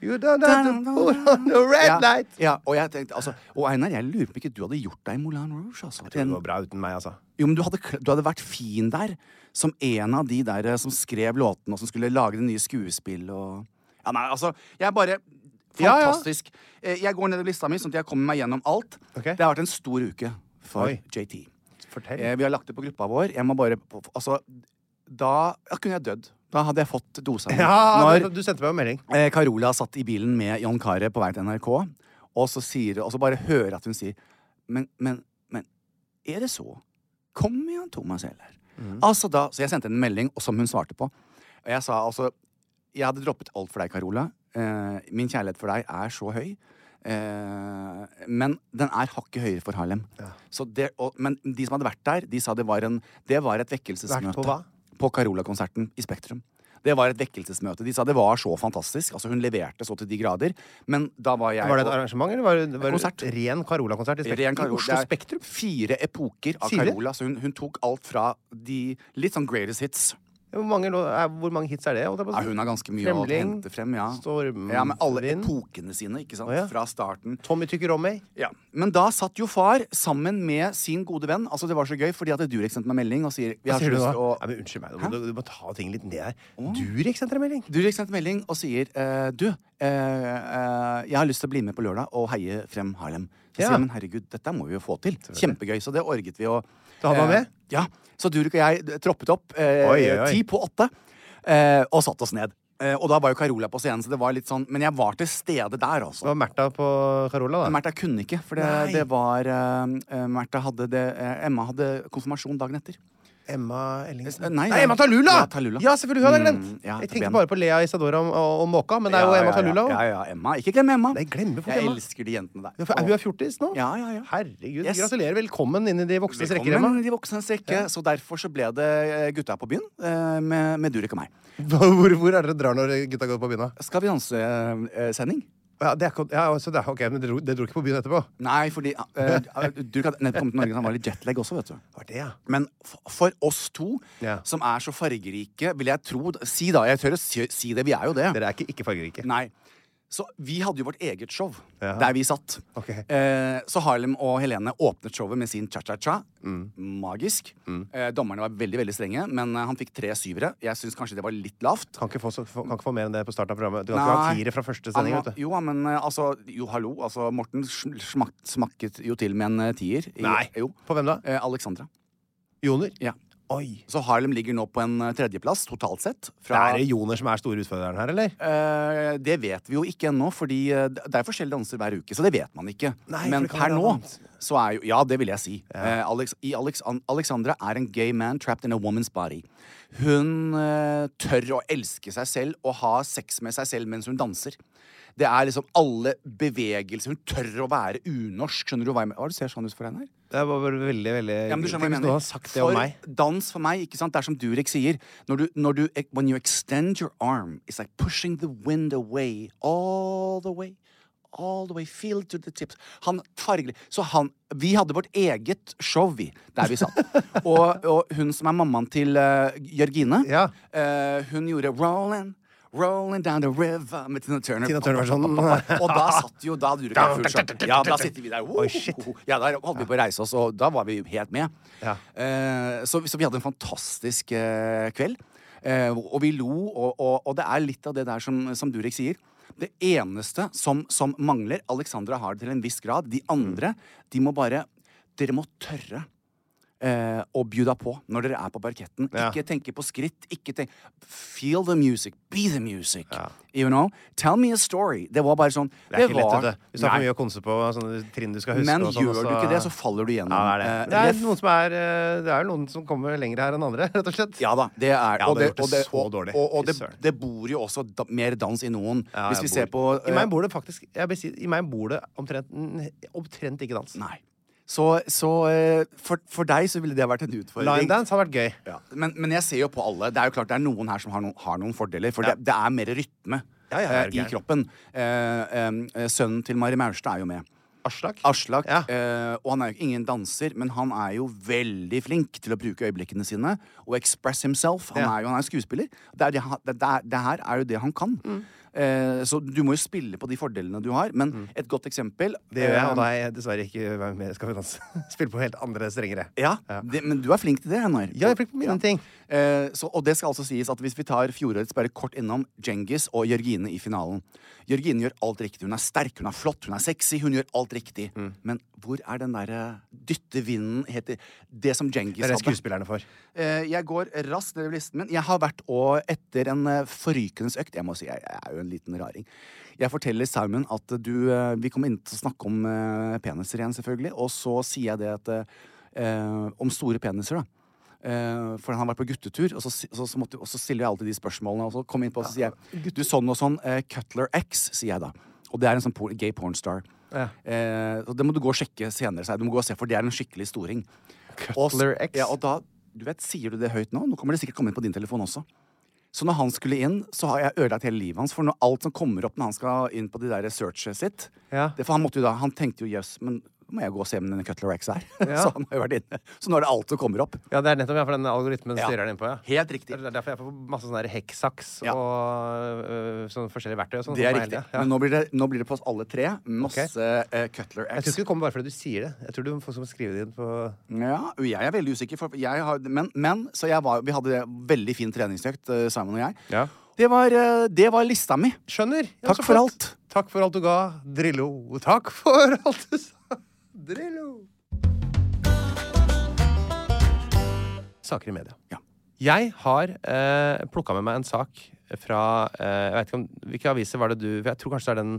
Speaker 2: You don't have to put on the *laughs* red
Speaker 1: Ja,
Speaker 2: light!
Speaker 1: ja, og jeg tenkte altså Og Einar, jeg lurer på om ikke du hadde gjort deg i Moulin Rouge. Altså.
Speaker 2: Det går bra uten meg, altså.
Speaker 1: Jo, men du hadde, kl- du hadde vært fin der, som en av de der eh, som skrev låtene, og som skulle lage det nye skuespillet og Ja, nei, altså, jeg bare
Speaker 2: Ja, ja.
Speaker 1: Fantastisk. Eh, Jeg går nedover lista mi, sånn at jeg kommer meg gjennom alt.
Speaker 2: Ok.
Speaker 1: Det har vært en stor uke for
Speaker 2: Oi.
Speaker 1: JT.
Speaker 2: Fortell.
Speaker 1: Eh, Vi har lagt det på gruppa vår. Jeg må bare Altså, da ja, kunne jeg dødd. Da hadde jeg fått dosa mi.
Speaker 2: Ja,
Speaker 1: Når
Speaker 2: du sendte meg en melding.
Speaker 1: eh, Carola satt i bilen med John Carew på vei til NRK, og så, sier, og så bare hører at hun sier Men, men, men er det så? Kom igjen, Thomas Heller.
Speaker 2: Mhm.
Speaker 1: Altså da, så jeg sendte henne en melding og som hun svarte på. Og jeg sa altså Jeg hadde droppet alt for deg, Carola. Eh, min kjærlighet for deg er så høy. Eh, men den er hakket høyere for Harlem. Så det, og, men de som hadde vært der, de sa det var, en, det var et vekkelsesmøte.
Speaker 2: Vært på hva?
Speaker 1: På Carola-konserten i Spektrum. Det var et vekkelsesmøte. De sa det var så fantastisk. Altså, hun leverte så til de grader. Men da var jeg
Speaker 2: Var det et
Speaker 1: på-
Speaker 2: arrangement, eller var det, var det
Speaker 1: Konsert.
Speaker 2: ren Carola-konsert i, Spek-
Speaker 1: Ren
Speaker 2: i
Speaker 1: Carola.
Speaker 2: Oslo
Speaker 1: Det er
Speaker 2: Spektrum?
Speaker 1: Fire epoker av
Speaker 2: Fire?
Speaker 1: Carola. Så hun, hun tok alt fra de litt sånn greatest hits.
Speaker 2: Hvor mange, lå- er, hvor mange hits er det? holdt jeg på å
Speaker 1: Ja,
Speaker 2: si?
Speaker 1: hun har ganske mye å
Speaker 2: Fremling,
Speaker 1: hente frem. Ja.
Speaker 2: Stormvind.
Speaker 1: ja, Med alle epokene sine, ikke sant?
Speaker 2: Å, ja.
Speaker 1: Fra starten.
Speaker 2: Tommy tykker om meg.
Speaker 1: Ja. Men da satt jo far sammen med sin gode venn. Altså Det var så gøy, fordi at Durek sendte meg melding og sier vi
Speaker 2: Hva
Speaker 1: har
Speaker 2: sier
Speaker 1: så
Speaker 2: du
Speaker 1: lyst
Speaker 2: da?
Speaker 1: til å
Speaker 2: Nei, men unnskyld meg, du, må- du må ta ting litt ned her. Durek sendte deg melding.
Speaker 1: Durek sendte melding og sier eh, Du, eh, eh, jeg har lyst til å bli med på lørdag og heie frem Harlem. Så
Speaker 2: Ja.
Speaker 1: sier jeg, men herregud, dette må vi jo få til. Kjempegøy. Så det orget vi å eh,
Speaker 2: Da hadde han med?
Speaker 1: Ja. Så Durek og jeg troppet opp eh,
Speaker 2: Oi, oi, oi.
Speaker 1: ti på åtte eh, og satte oss ned. Eh, og da var jo Carola på scenen, så det var litt sånn Men jeg var til stede der,
Speaker 2: Det
Speaker 1: altså.
Speaker 2: var Märtha på Carola, da.
Speaker 1: Märtha kunne ikke, for det,
Speaker 2: Nei.
Speaker 1: det var eh, Märtha hadde det eh, Emma hadde konfirmasjon dagen etter.
Speaker 2: Emma Ellingsen.
Speaker 1: Eh,
Speaker 2: Nei,
Speaker 1: nei,
Speaker 2: Emma Talula!
Speaker 1: Ja, Talula.
Speaker 2: Ja, selvfølgelig. Hun hadde jeg glemt.
Speaker 1: Mm, ja,
Speaker 2: jeg
Speaker 1: til
Speaker 2: tenkte
Speaker 1: ben.
Speaker 2: bare på Lea Isadora og, og Måka, men det er jo
Speaker 1: Ja,
Speaker 2: Emma
Speaker 1: ja,
Speaker 2: Talula
Speaker 1: Ja,
Speaker 2: òg.
Speaker 1: ja, ja, Emma. Ikke glem Emma.
Speaker 2: Nei, jeg glemmer fort
Speaker 1: jeg
Speaker 2: Emma.
Speaker 1: elsker de jentene der.
Speaker 2: Hun er fjortis nå.
Speaker 1: Ja, ja, ja.
Speaker 2: Herregud.
Speaker 1: Yes.
Speaker 2: Gratulerer. Velkommen inn i de voksnes rekker, Emma.
Speaker 1: Velkommen i de voksnes rekke. Så derfor så ble det eh, Gutta på byen eh, med, med Durek og meg.
Speaker 2: *laughs* Hvor, hvor er det dere drar når gutta går på byen? da?
Speaker 1: Skal vi eh, danse-sending?
Speaker 2: Ja, det er, ikke- ja, altså, det er, ok, men dere dro, dere dro ikke på byen etterpå?
Speaker 1: Nei, fordi
Speaker 2: *laughs*
Speaker 1: eh, eh, Durek hadde nettopp kommet til Norge, så han var litt jetlag også, vet du.
Speaker 2: Var det, ja.
Speaker 1: Men f- for oss to,
Speaker 2: Ja.
Speaker 1: som er så fargerike, vil jeg tro Si da, jeg tør å si, si det, vi er jo det.
Speaker 2: Dere er ikke, ikke fargerike.
Speaker 1: Nei. Så vi hadde jo vårt eget show
Speaker 2: Ja.
Speaker 1: der vi satt.
Speaker 2: Ok.
Speaker 1: Eh, så Harlem og Helene åpnet showet med sin cha-cha-cha.
Speaker 2: Mm.
Speaker 1: Magisk. Eh, dommerne var veldig veldig strenge, men eh, han fikk tre syvere. Jeg syns kanskje det var litt lavt.
Speaker 2: Kan ikke, få, så- få- kan ikke få mer enn det på starten av programmet. Du kan ikke ha
Speaker 1: Nei.
Speaker 2: fire fra første sending.
Speaker 1: Han var-
Speaker 2: vet du.
Speaker 1: Jo, ja, men eh, altså Jo, hallo. Altså, Morten sm smak smakket jo til med en eh, tier. I,
Speaker 2: Nei.
Speaker 1: Jo.
Speaker 2: På hvem da?
Speaker 1: Eh, Alexandra.
Speaker 2: Joner?
Speaker 1: Ja.
Speaker 2: Oi.
Speaker 1: Så Harlem ligger nå på en eh, tredjeplass totalt sett. Fra,
Speaker 2: Er det Joner som er store utfordreren her, eller?
Speaker 1: Eh, det vet vi jo ikke ennå, fordi eh, det er forskjellige danser hver uke. Så det vet man ikke.
Speaker 2: Nei, for
Speaker 1: Men
Speaker 2: det kan
Speaker 1: per
Speaker 2: være
Speaker 1: nå
Speaker 2: annet.
Speaker 1: så er jo Ja, det vil jeg si. Eh, Alex, i Alex, An- Alexandra er en gay man trapped in a woman's body. Hun eh, tør å elske seg selv og ha sex med seg selv mens hun danser. Det er liksom alle bevegelser Hun tør å være unorsk. Skjønner du hva jeg mener? Å, Du ser sånn ut for henne her.
Speaker 2: Det var bare veldig, veldig
Speaker 1: Ja, men du skjønner hva jeg
Speaker 2: Tenk hvis
Speaker 1: mener.
Speaker 2: noen Eh, har sagt det om
Speaker 1: for
Speaker 2: meg.
Speaker 1: dans for meg, ikke sant, det er som Durek sier når du, når du, When you extend your arm, it's like pushing the wind away. All the way. All the way. Feel to the tips. Han fargelig. Så han Vi hadde vårt eget show, vi, der vi
Speaker 2: *laughs*
Speaker 1: satt. og, og hun som er mammaen til eh, Jørgine,
Speaker 2: Ja.
Speaker 1: eh, hun gjorde Rollin', rollin' down the river med Tina Turner.
Speaker 2: Tina Turner-versjonen.
Speaker 1: *laughs* Og da satt jo da hadde Durek en full show. Ja, da sitter vi der.
Speaker 2: Oi, shit.
Speaker 1: Ja, der holdt vi på å reise oss, og da var vi helt med.
Speaker 2: Ja.
Speaker 1: Eh, så, så vi hadde en fantastisk eh, kveld. Eh, og vi lo, og, og, og det er litt av det der som, som Durek sier. Det eneste som, som mangler
Speaker 2: Mm.
Speaker 1: Alexandra har det til en viss grad. De andre, de må bare Dere må tørre eh, og bjuda på når dere er på parketten.
Speaker 2: Ja.
Speaker 1: Ikke tenke på skritt. Ikke tenk Feel the music. Be the music. You know? Tell me a story. Det var bare sånn
Speaker 2: Det er ikke lett,
Speaker 1: var-
Speaker 2: vet du. Hvis du har
Speaker 1: Nei.
Speaker 2: for mye å konse på sånne trinn du skal huske
Speaker 1: Men
Speaker 2: og sånn,
Speaker 1: gjør du ikke det, så faller du igjennom.
Speaker 2: ja, det, er det.
Speaker 1: Eh,
Speaker 2: det er
Speaker 1: jeg-
Speaker 2: noen som er eh, Det er jo noen som kommer lenger her enn andre, rett og slett.
Speaker 1: Ja da, det er
Speaker 2: Jeg
Speaker 1: og
Speaker 2: hadde
Speaker 1: det.
Speaker 2: gjort det
Speaker 1: og det,
Speaker 2: så dårlig.
Speaker 1: Og, og, og
Speaker 2: Fy
Speaker 1: det,
Speaker 2: søren.
Speaker 1: det bor jo også da, mer dans i noen.
Speaker 2: Ja,
Speaker 1: Hvis
Speaker 2: jeg
Speaker 1: vi ser på
Speaker 2: bor- I
Speaker 1: eh,
Speaker 2: meg bor det faktisk jeg vil si, I meg bor det omtrent, n- omtrent ikke dans.
Speaker 1: Nei. Så, så eh, for, for deg så ville det vært en utfordring.
Speaker 2: Line dance hadde vært gøy.
Speaker 1: Ja. Men, men jeg ser jo på alle. Det er jo klart det er noen her som har noen, har noen fordeler. For
Speaker 2: Ja.
Speaker 1: det, det er mer rytme
Speaker 2: Ja, ja,
Speaker 1: eh,
Speaker 2: er du
Speaker 1: i
Speaker 2: gæren.
Speaker 1: kroppen. Eh, eh, sønnen til Mari Maurstad er jo med.
Speaker 2: Aslak.
Speaker 1: Aslak.
Speaker 2: Ja.
Speaker 1: Eh, og han er jo ingen danser, men han er jo veldig flink til å bruke øyeblikkene sine og express himself. Han
Speaker 2: Ja.
Speaker 1: er jo han er skuespiller. Det, er det, han- det, det, er- det her er jo det han kan.
Speaker 2: Mm.
Speaker 1: Eh, så du må jo spille på de fordelene du har. Men et godt eksempel
Speaker 2: Mm. Det gjør jeg,
Speaker 1: eh,
Speaker 2: og da er jeg dessverre ikke vært med i Skal vi danse. *laughs* Spille på helt andre strengere.
Speaker 1: Ja, Det, men du er flink til det, Hennar.
Speaker 2: Ja, jeg er flink på mine ting.
Speaker 1: Eh, så, og det skal altså sies at hvis vi tar fjorårets bare kort innom Djengis og Jørgine i finalen. Jørgine gjør alt riktig. Hun er sterk, hun er flott, hun er sexy, hun gjør alt riktig.
Speaker 2: Mm.
Speaker 1: Men hvor er den derre dyttevinden heter Det som Djengis
Speaker 2: Det er det
Speaker 1: hadde.
Speaker 2: skuespillerne for.
Speaker 1: Eh, jeg går raskt nedover listen min. Jeg har vært og etter en eh, forrykende økt Jeg må si, jeg, jeg er jo en liten raring. Jeg forteller Simon at eh, du eh, Vi kommer inn til å snakke om eh, peniser igjen, selvfølgelig. Og så sier jeg det at eh, eh, Om store peniser, da. Eh, for han har vært på guttetur, og så, si- så, så, måtte, og så stiller jeg alltid de spørsmålene. Og så kommer jeg inn på og så sier jeg Du, sånn og sånn. eh, Cutler X, sier jeg da. Og det er en sånn por gay pornstar. Eh, og det må du gå og sjekke senere, sa jeg. Du må gå og se, for det er en skikkelig storing. Og s-
Speaker 2: Cutler X?
Speaker 1: Ja, og da, du vet, sier du det høyt nå? Nå kommer det sikkert komme inn på din telefon også. Så når han skulle inn, så har jeg ødelagt hele livet hans. For når alt som kommer opp når han skal inn på det der searchet sitt
Speaker 2: Ja.
Speaker 1: det, For han måtte jo da, han tenkte jo jøss, men må jeg gå og se om denne Cutler X er? *laughs* så han har jo vært inne. Så nå er det alt som kommer opp.
Speaker 2: Ja, det er nettopp ja, for den algoritmen
Speaker 1: Ja.
Speaker 2: styrer den innpå. Ja.
Speaker 1: Helt riktig.
Speaker 2: Det er derfor jeg får masse sånne her hekksaks
Speaker 1: Ja.
Speaker 2: og øh, sånne forskjellige verktøy. Og sånn,
Speaker 1: Det er
Speaker 2: som
Speaker 1: riktig.
Speaker 2: hele- Ja.
Speaker 1: Men nå blir det, nå blir det på oss alle tre. Masse eh, Cutler X.
Speaker 2: Jeg tror ikke det kommer bare fordi du sier det. Jeg tror du må få som skrive det inn på
Speaker 1: Ja, jeg er veldig usikker, for jeg har, men, men så jeg var, vi hadde det veldig fin treningsøkt, eh, Simon og jeg.
Speaker 2: Ja.
Speaker 1: Det, var, eh, det var lista mi.
Speaker 2: Skjønner. Ja,
Speaker 1: Takk
Speaker 2: så
Speaker 1: for
Speaker 2: flott.
Speaker 1: alt.
Speaker 2: Takk for alt du ga, Drillo. Takk for alt du sa, Drillo. Saker i media.
Speaker 1: Ja.
Speaker 2: Jeg har eh, plukka med meg en sak fra eh, Jeg vet ikke om Hvilke aviser var det du Jeg tror kanskje det er den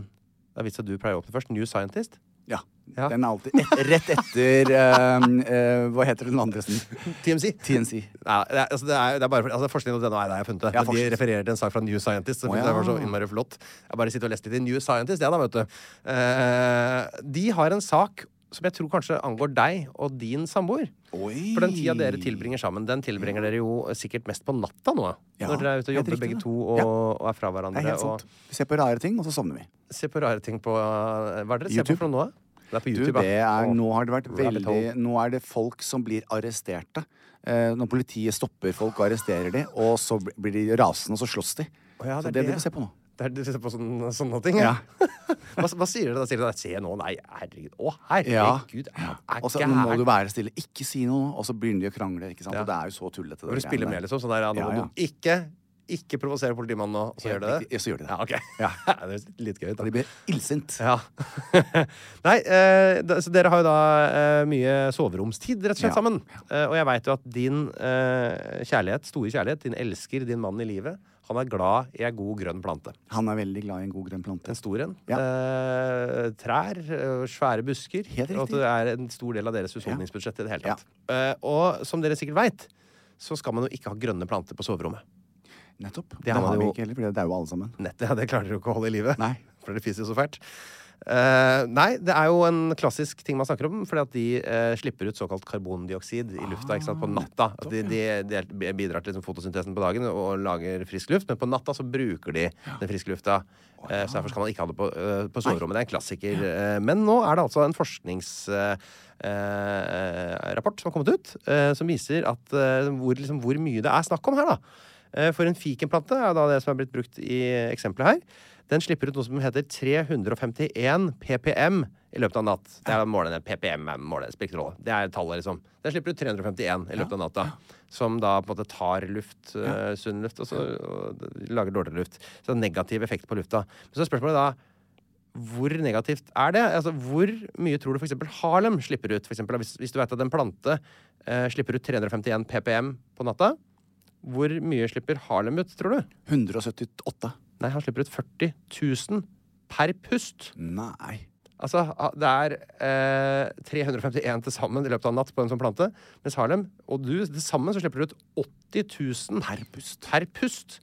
Speaker 2: avisa du pleier å åpne først. New Scientist.
Speaker 1: Ja.
Speaker 2: Ja.
Speaker 1: Den er
Speaker 2: *laughs*
Speaker 1: alltid et, rett etter eh, eh, Hva heter den andre?
Speaker 2: *laughs*
Speaker 1: sen-
Speaker 2: TMC.
Speaker 1: TNC.
Speaker 2: Nei, det, er, altså, det, er, det er bare for- altså, Forskning.no er det jeg har funnet. det.
Speaker 1: Ja,
Speaker 2: Men de
Speaker 1: forskning.
Speaker 2: refererer til en sak fra New Scientist. som
Speaker 1: Å, ja.
Speaker 2: det var så innmari flott. Jeg bare sitter og leser litt i New Scientist, jeg, da, vet du. Eh, de har en sak som jeg tror kanskje angår deg og din samboer.
Speaker 1: Oi.
Speaker 2: For den tida dere tilbringer sammen, den tilbringer dere jo sikkert mest på natta nå.
Speaker 1: Ja,
Speaker 2: når dere er ute
Speaker 1: helt
Speaker 2: og jobber
Speaker 1: riktig
Speaker 2: begge
Speaker 1: det.
Speaker 2: to og,
Speaker 1: Ja.
Speaker 2: og er fra
Speaker 1: Det
Speaker 2: hverandre.
Speaker 1: er helt sant.
Speaker 2: og
Speaker 1: Vi ser på rare ting, og så sovner vi.
Speaker 2: ser på rare ting på eh, Hva er det dere ser
Speaker 1: YouTube.
Speaker 2: på for noe nå? da? Det er på
Speaker 1: Du,
Speaker 2: YouTube,
Speaker 1: det
Speaker 2: ja.
Speaker 1: er,
Speaker 2: Å,
Speaker 1: nå har det vært
Speaker 2: rabbit hole.
Speaker 1: veldig Nå er det folk som blir arresterte. Eh, når politiet stopper folk og arresterer de, og så bl- blir de rasende, og så slåss de.
Speaker 2: Å
Speaker 1: så det
Speaker 2: ja, det er
Speaker 1: er
Speaker 2: det,
Speaker 1: det vi
Speaker 2: ja.
Speaker 1: ser på nå.
Speaker 2: Det er, du ser på sånne, sånne ting? Ja. *laughs* hva, hva sier du da? Sier du da, se nå, nei, herregud. Å,
Speaker 1: Ja.
Speaker 2: herregud. Ja. Er
Speaker 1: Og så nå må du
Speaker 2: Ah, gæren.
Speaker 1: være stille. Ikke si noe. Og så begynner de å krangle. Ikke sant?
Speaker 2: Ja.
Speaker 1: Og det er jo så tullete.
Speaker 2: Når du spiller med, liksom. Sånn der, ja, nå
Speaker 1: Ja,
Speaker 2: må
Speaker 1: ja.
Speaker 2: du ikke, ikke provosere politimannen nå. Og så gjør du det?
Speaker 1: Ja, så gjør de det.
Speaker 2: *laughs* Ja, ok.
Speaker 1: Ja.
Speaker 2: det høres litt gøy ut,
Speaker 1: Og de
Speaker 2: da.
Speaker 1: blir illsint.
Speaker 2: Ja. *laughs* Nei, eh, da- så dere har jo da eh, mye soveromstid, rett og slett,
Speaker 1: Ja.
Speaker 2: sammen. Eh, og jeg veit jo at din eh, kjærlighet, store kjærlighet, din elsker, din mann i livet, han er glad i ei god grønn plante.
Speaker 1: Han er veldig glad i en god grønn
Speaker 2: En
Speaker 1: plante.
Speaker 2: stor en.
Speaker 1: Ja.
Speaker 2: Eh, trær, eh, svære busker.
Speaker 1: Helt
Speaker 2: og at
Speaker 1: riktig.
Speaker 2: det er en stor del av deres husholdningsbudsjett i det hele
Speaker 1: Ja.
Speaker 2: tatt. Eh, og som dere sikkert veit, så skal man jo ikke ha grønne planter på soverommet.
Speaker 1: Nettopp. Det,
Speaker 2: Det har
Speaker 1: har vi
Speaker 2: man jo-
Speaker 1: ikke heller, for det dauer jo alle sammen.
Speaker 2: Nettet, *laughs* ja, det klarer dere jo ikke å holde i live.
Speaker 1: Nei.
Speaker 2: For det fiser jo så fælt. Eh, nei, det er jo en klassisk ting man snakker om, fordi at de eh, slipper ut såkalt karbondioksid i lufta ikke sant, på natta. At de, de, de bidrar til liksom, fotosyntesen på dagen og lager frisk luft, men på natta så bruker de den friske lufta. Eh, så derfor skal man ikke ha det på, eh, på soverommet. Det er en klassiker. Eh, men nå er det altså en forskningsrapport eh, rapport som har kommet ut, eh, som viser at, eh, hvor, liksom, hvor mye det er snakk om her. da Eh, For en fikenplante er da det som er blitt brukt i eksempelet her. Den slipper ut noe som heter 351 ppm i løpet av natt. Det er målene, ppm er målene, spiller ikke rolle. Det er tallet, liksom. Den slipper ut 351 i løpet av natta. Som da på en måte tar luft, eh, sunn luft, og så og d- lager dårligere luft. Så det er en negativ effekt på lufta. Men så er spørsmålet da Hvor negativt er det? Altså, hvor mye tror du f.eks. Harlem slipper ut? For eksempel, hvis, hvis du vet at en plante eh, slipper ut 351 PPM på natta, hvor mye slipper Harlem ut, tror du?
Speaker 1: 178.
Speaker 2: Nei, han slipper ut 40 000 per pust.
Speaker 1: Nei.
Speaker 2: Altså, ha- det er eh, 351 til sammen i løpet av en natt på en sånn plante. Mens Harlem og du til sammen så slipper du ut 80 000 per pust.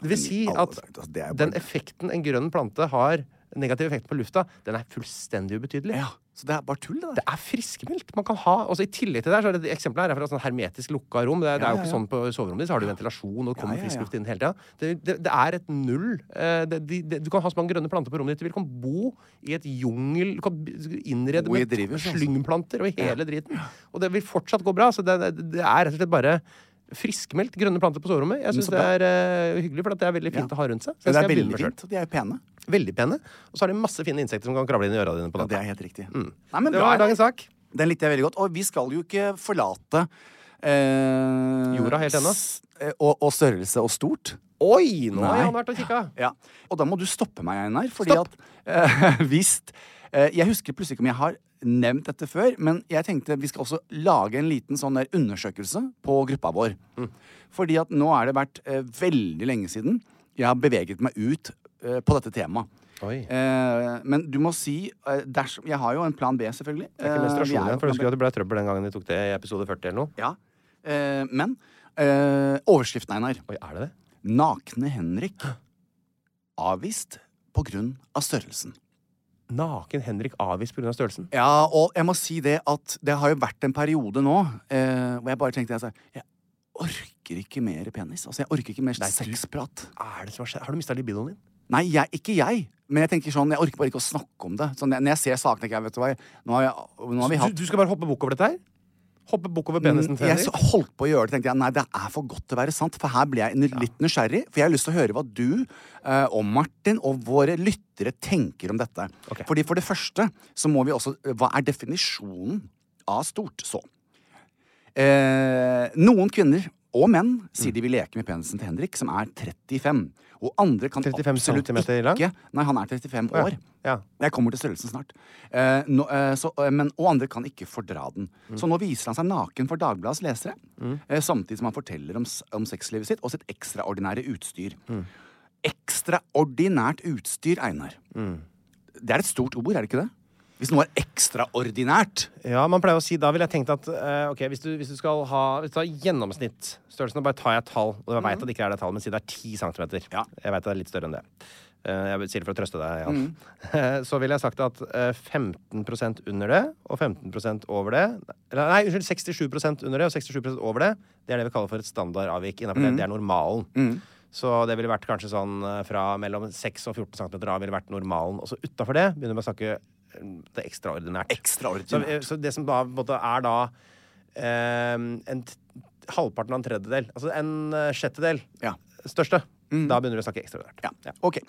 Speaker 2: Det vil si
Speaker 1: I alle
Speaker 2: at
Speaker 1: dager, altså, det er
Speaker 2: den
Speaker 1: bare-
Speaker 2: effekten en grønn plante har, negativ effekt på lufta, den er fullstendig ubetydelig.
Speaker 1: Ja, så det er bare tull, det
Speaker 2: Det
Speaker 1: der.
Speaker 2: er friskmeldt. Man kan ha, altså I tillegg til det, her, så er det det eksempelet her er fra sånn hermetisk lukka rom. Det, er- det er jo ikke sånn på soverommet ditt, så har du ventilasjon, og det kommer
Speaker 1: Ja, ja, ja.
Speaker 2: frisk luft inn hele tida. Det, det, det er et null. Eh, Det, de, det, du kan ha så mange grønne planter på rommet ditt du vil. Du kan bo i et jungel, du kan b- innrede
Speaker 1: Bo i
Speaker 2: med
Speaker 1: drivhus, altså.
Speaker 2: slyngplanter og i hele driten. Og det vil fortsatt gå bra. Så det, det det er rett og slett bare friskmeldt grønne planter på soverommet. Jeg syns
Speaker 1: så
Speaker 2: det er eh, hyggelig, for at det er veldig fint å ha rundt seg.
Speaker 1: Men
Speaker 2: Så jeg
Speaker 1: det er
Speaker 2: skal
Speaker 1: veldig
Speaker 2: begynne med selv.
Speaker 1: fint. og De er jo pene.
Speaker 2: Veldig pene. Og så er det masse fine insekter som kan kravle inn i øra dine på
Speaker 1: Ja, det
Speaker 2: natta.
Speaker 1: er helt riktig. Nei, men
Speaker 2: Mm. Det
Speaker 1: bra,
Speaker 2: var dagens sak.
Speaker 1: Den likte jeg veldig godt. Og vi skal jo ikke forlate eh,
Speaker 2: Jorda helt ennå.
Speaker 1: s- eh, Og, og størrelse og stort.
Speaker 2: Oi! Nå har
Speaker 1: Nei.
Speaker 2: han vært og kikka.
Speaker 1: Ja. Og da må du stoppe meg, Einar. Fordi
Speaker 2: Stopp!
Speaker 1: at eh, *laughs* hvis eh, Jeg husker plutselig ikke om jeg har nevnt dette før, men jeg tenkte vi skal også lage en liten sånn der undersøkelse på gruppa vår.
Speaker 2: Mm.
Speaker 1: Fordi at nå er det vært eh, veldig lenge siden jeg har beveget meg ut eh, på dette temaet.
Speaker 2: Oi.
Speaker 1: Eh, men du må si eh, dersom, Jeg har jo en plan B, selvfølgelig.
Speaker 2: Det er ikke
Speaker 1: Eh, vi
Speaker 2: menstruasjon
Speaker 1: er jo
Speaker 2: igjen, for
Speaker 1: plan
Speaker 2: husker
Speaker 1: B.
Speaker 2: du at det ble trøbbel den gangen de tok det i episode 40 eller noe?
Speaker 1: Ja. Eh, men eh, overskriften, Einar.
Speaker 2: Oi, er det det?
Speaker 1: Nakne Henrik avvist på grunn av størrelsen.
Speaker 2: Naken Henrik avvist pga. størrelsen.
Speaker 1: Ja, og jeg må si det at det har jo vært en periode nå eh, hvor jeg bare tenkte altså, Jeg orker ikke mer penis. Altså, jeg orker ikke mer
Speaker 2: Nei, du-
Speaker 1: sexprat.
Speaker 2: Er det som har skjedd? Har du mista libidoen din?
Speaker 1: Nei, jeg, ikke jeg. Men jeg tenker sånn, jeg orker bare ikke å snakke om det. Sånn, når jeg ser sakene, tenker jeg, vet du hva jeg, Nå har, jeg, nå har vi hatt Mm,
Speaker 2: Du, du skal bare hoppe bukk over dette her? Hoppe bukk over penisen til
Speaker 1: Jeg
Speaker 2: Henrik?
Speaker 1: så- holdt på å gjøre det, tenkte jeg. Nei, det er for godt til å være sant. For her ble jeg n- litt nysgjerrig. For jeg har lyst til å høre hva du eh, og Martin og våre lyttere tenker om dette.
Speaker 2: Ok.
Speaker 1: Fordi for det første så må vi også eh, Hva er definisjonen av stort? Så. Eh, noen kvinner og menn
Speaker 2: Mm.
Speaker 1: sier de vil leke med penisen til Henrik, som er 35. Og andre kan
Speaker 2: 35
Speaker 1: absolutt
Speaker 2: centimeter lang?
Speaker 1: ikke Nei, han er 35
Speaker 2: ja.
Speaker 1: år.
Speaker 2: Ja.
Speaker 1: Jeg kommer til størrelsen snart. Eh, nå, eh, så, eh, men, og andre kan ikke fordra den.
Speaker 2: Mm.
Speaker 1: Så nå viser han seg naken for Dagbladets lesere, eh, samtidig som han forteller om, s- om sexlivet sitt og sitt ekstraordinære utstyr.
Speaker 2: Mm.
Speaker 1: Ekstraordinært utstyr, Einar.
Speaker 2: Mm.
Speaker 1: Det er et stort ord, er det ikke det? Hvis noe er ekstraordinært.
Speaker 2: ja, man pleier å si Da ville jeg tenkt at eh, ok, hvis du, hvis du skal ha hvis du tar gjennomsnittstørrelsen, og bare tar jeg et tall Og jeg veit at det ikke er det tallet, men si det er 10 cm.
Speaker 1: Ja.
Speaker 2: Jeg veit det er litt større enn det. Eh, jeg sier det for å trøste deg, Jan. *laughs* Så ville jeg sagt at eh, 15 under det og 15 over det Eller nei, unnskyld, 67 under det og 67 over det, det er det vi kaller for et standardavvik innenfor det. Det er normalen. Så det ville vært kanskje sånn eh, fra mellom 6 og 14 cm av ville vært normalen. Og så utafor det begynner vi å snakke eh, det ekstraordinært. Så,
Speaker 1: Ekstraordinært.
Speaker 2: eh, så det som da på en måte er da eh, en t halvparten av en tredjedel, altså en eh, sjettedel,
Speaker 1: Ja.
Speaker 2: største, da begynner vi å snakke ekstraordinært.
Speaker 1: Ja. Ok.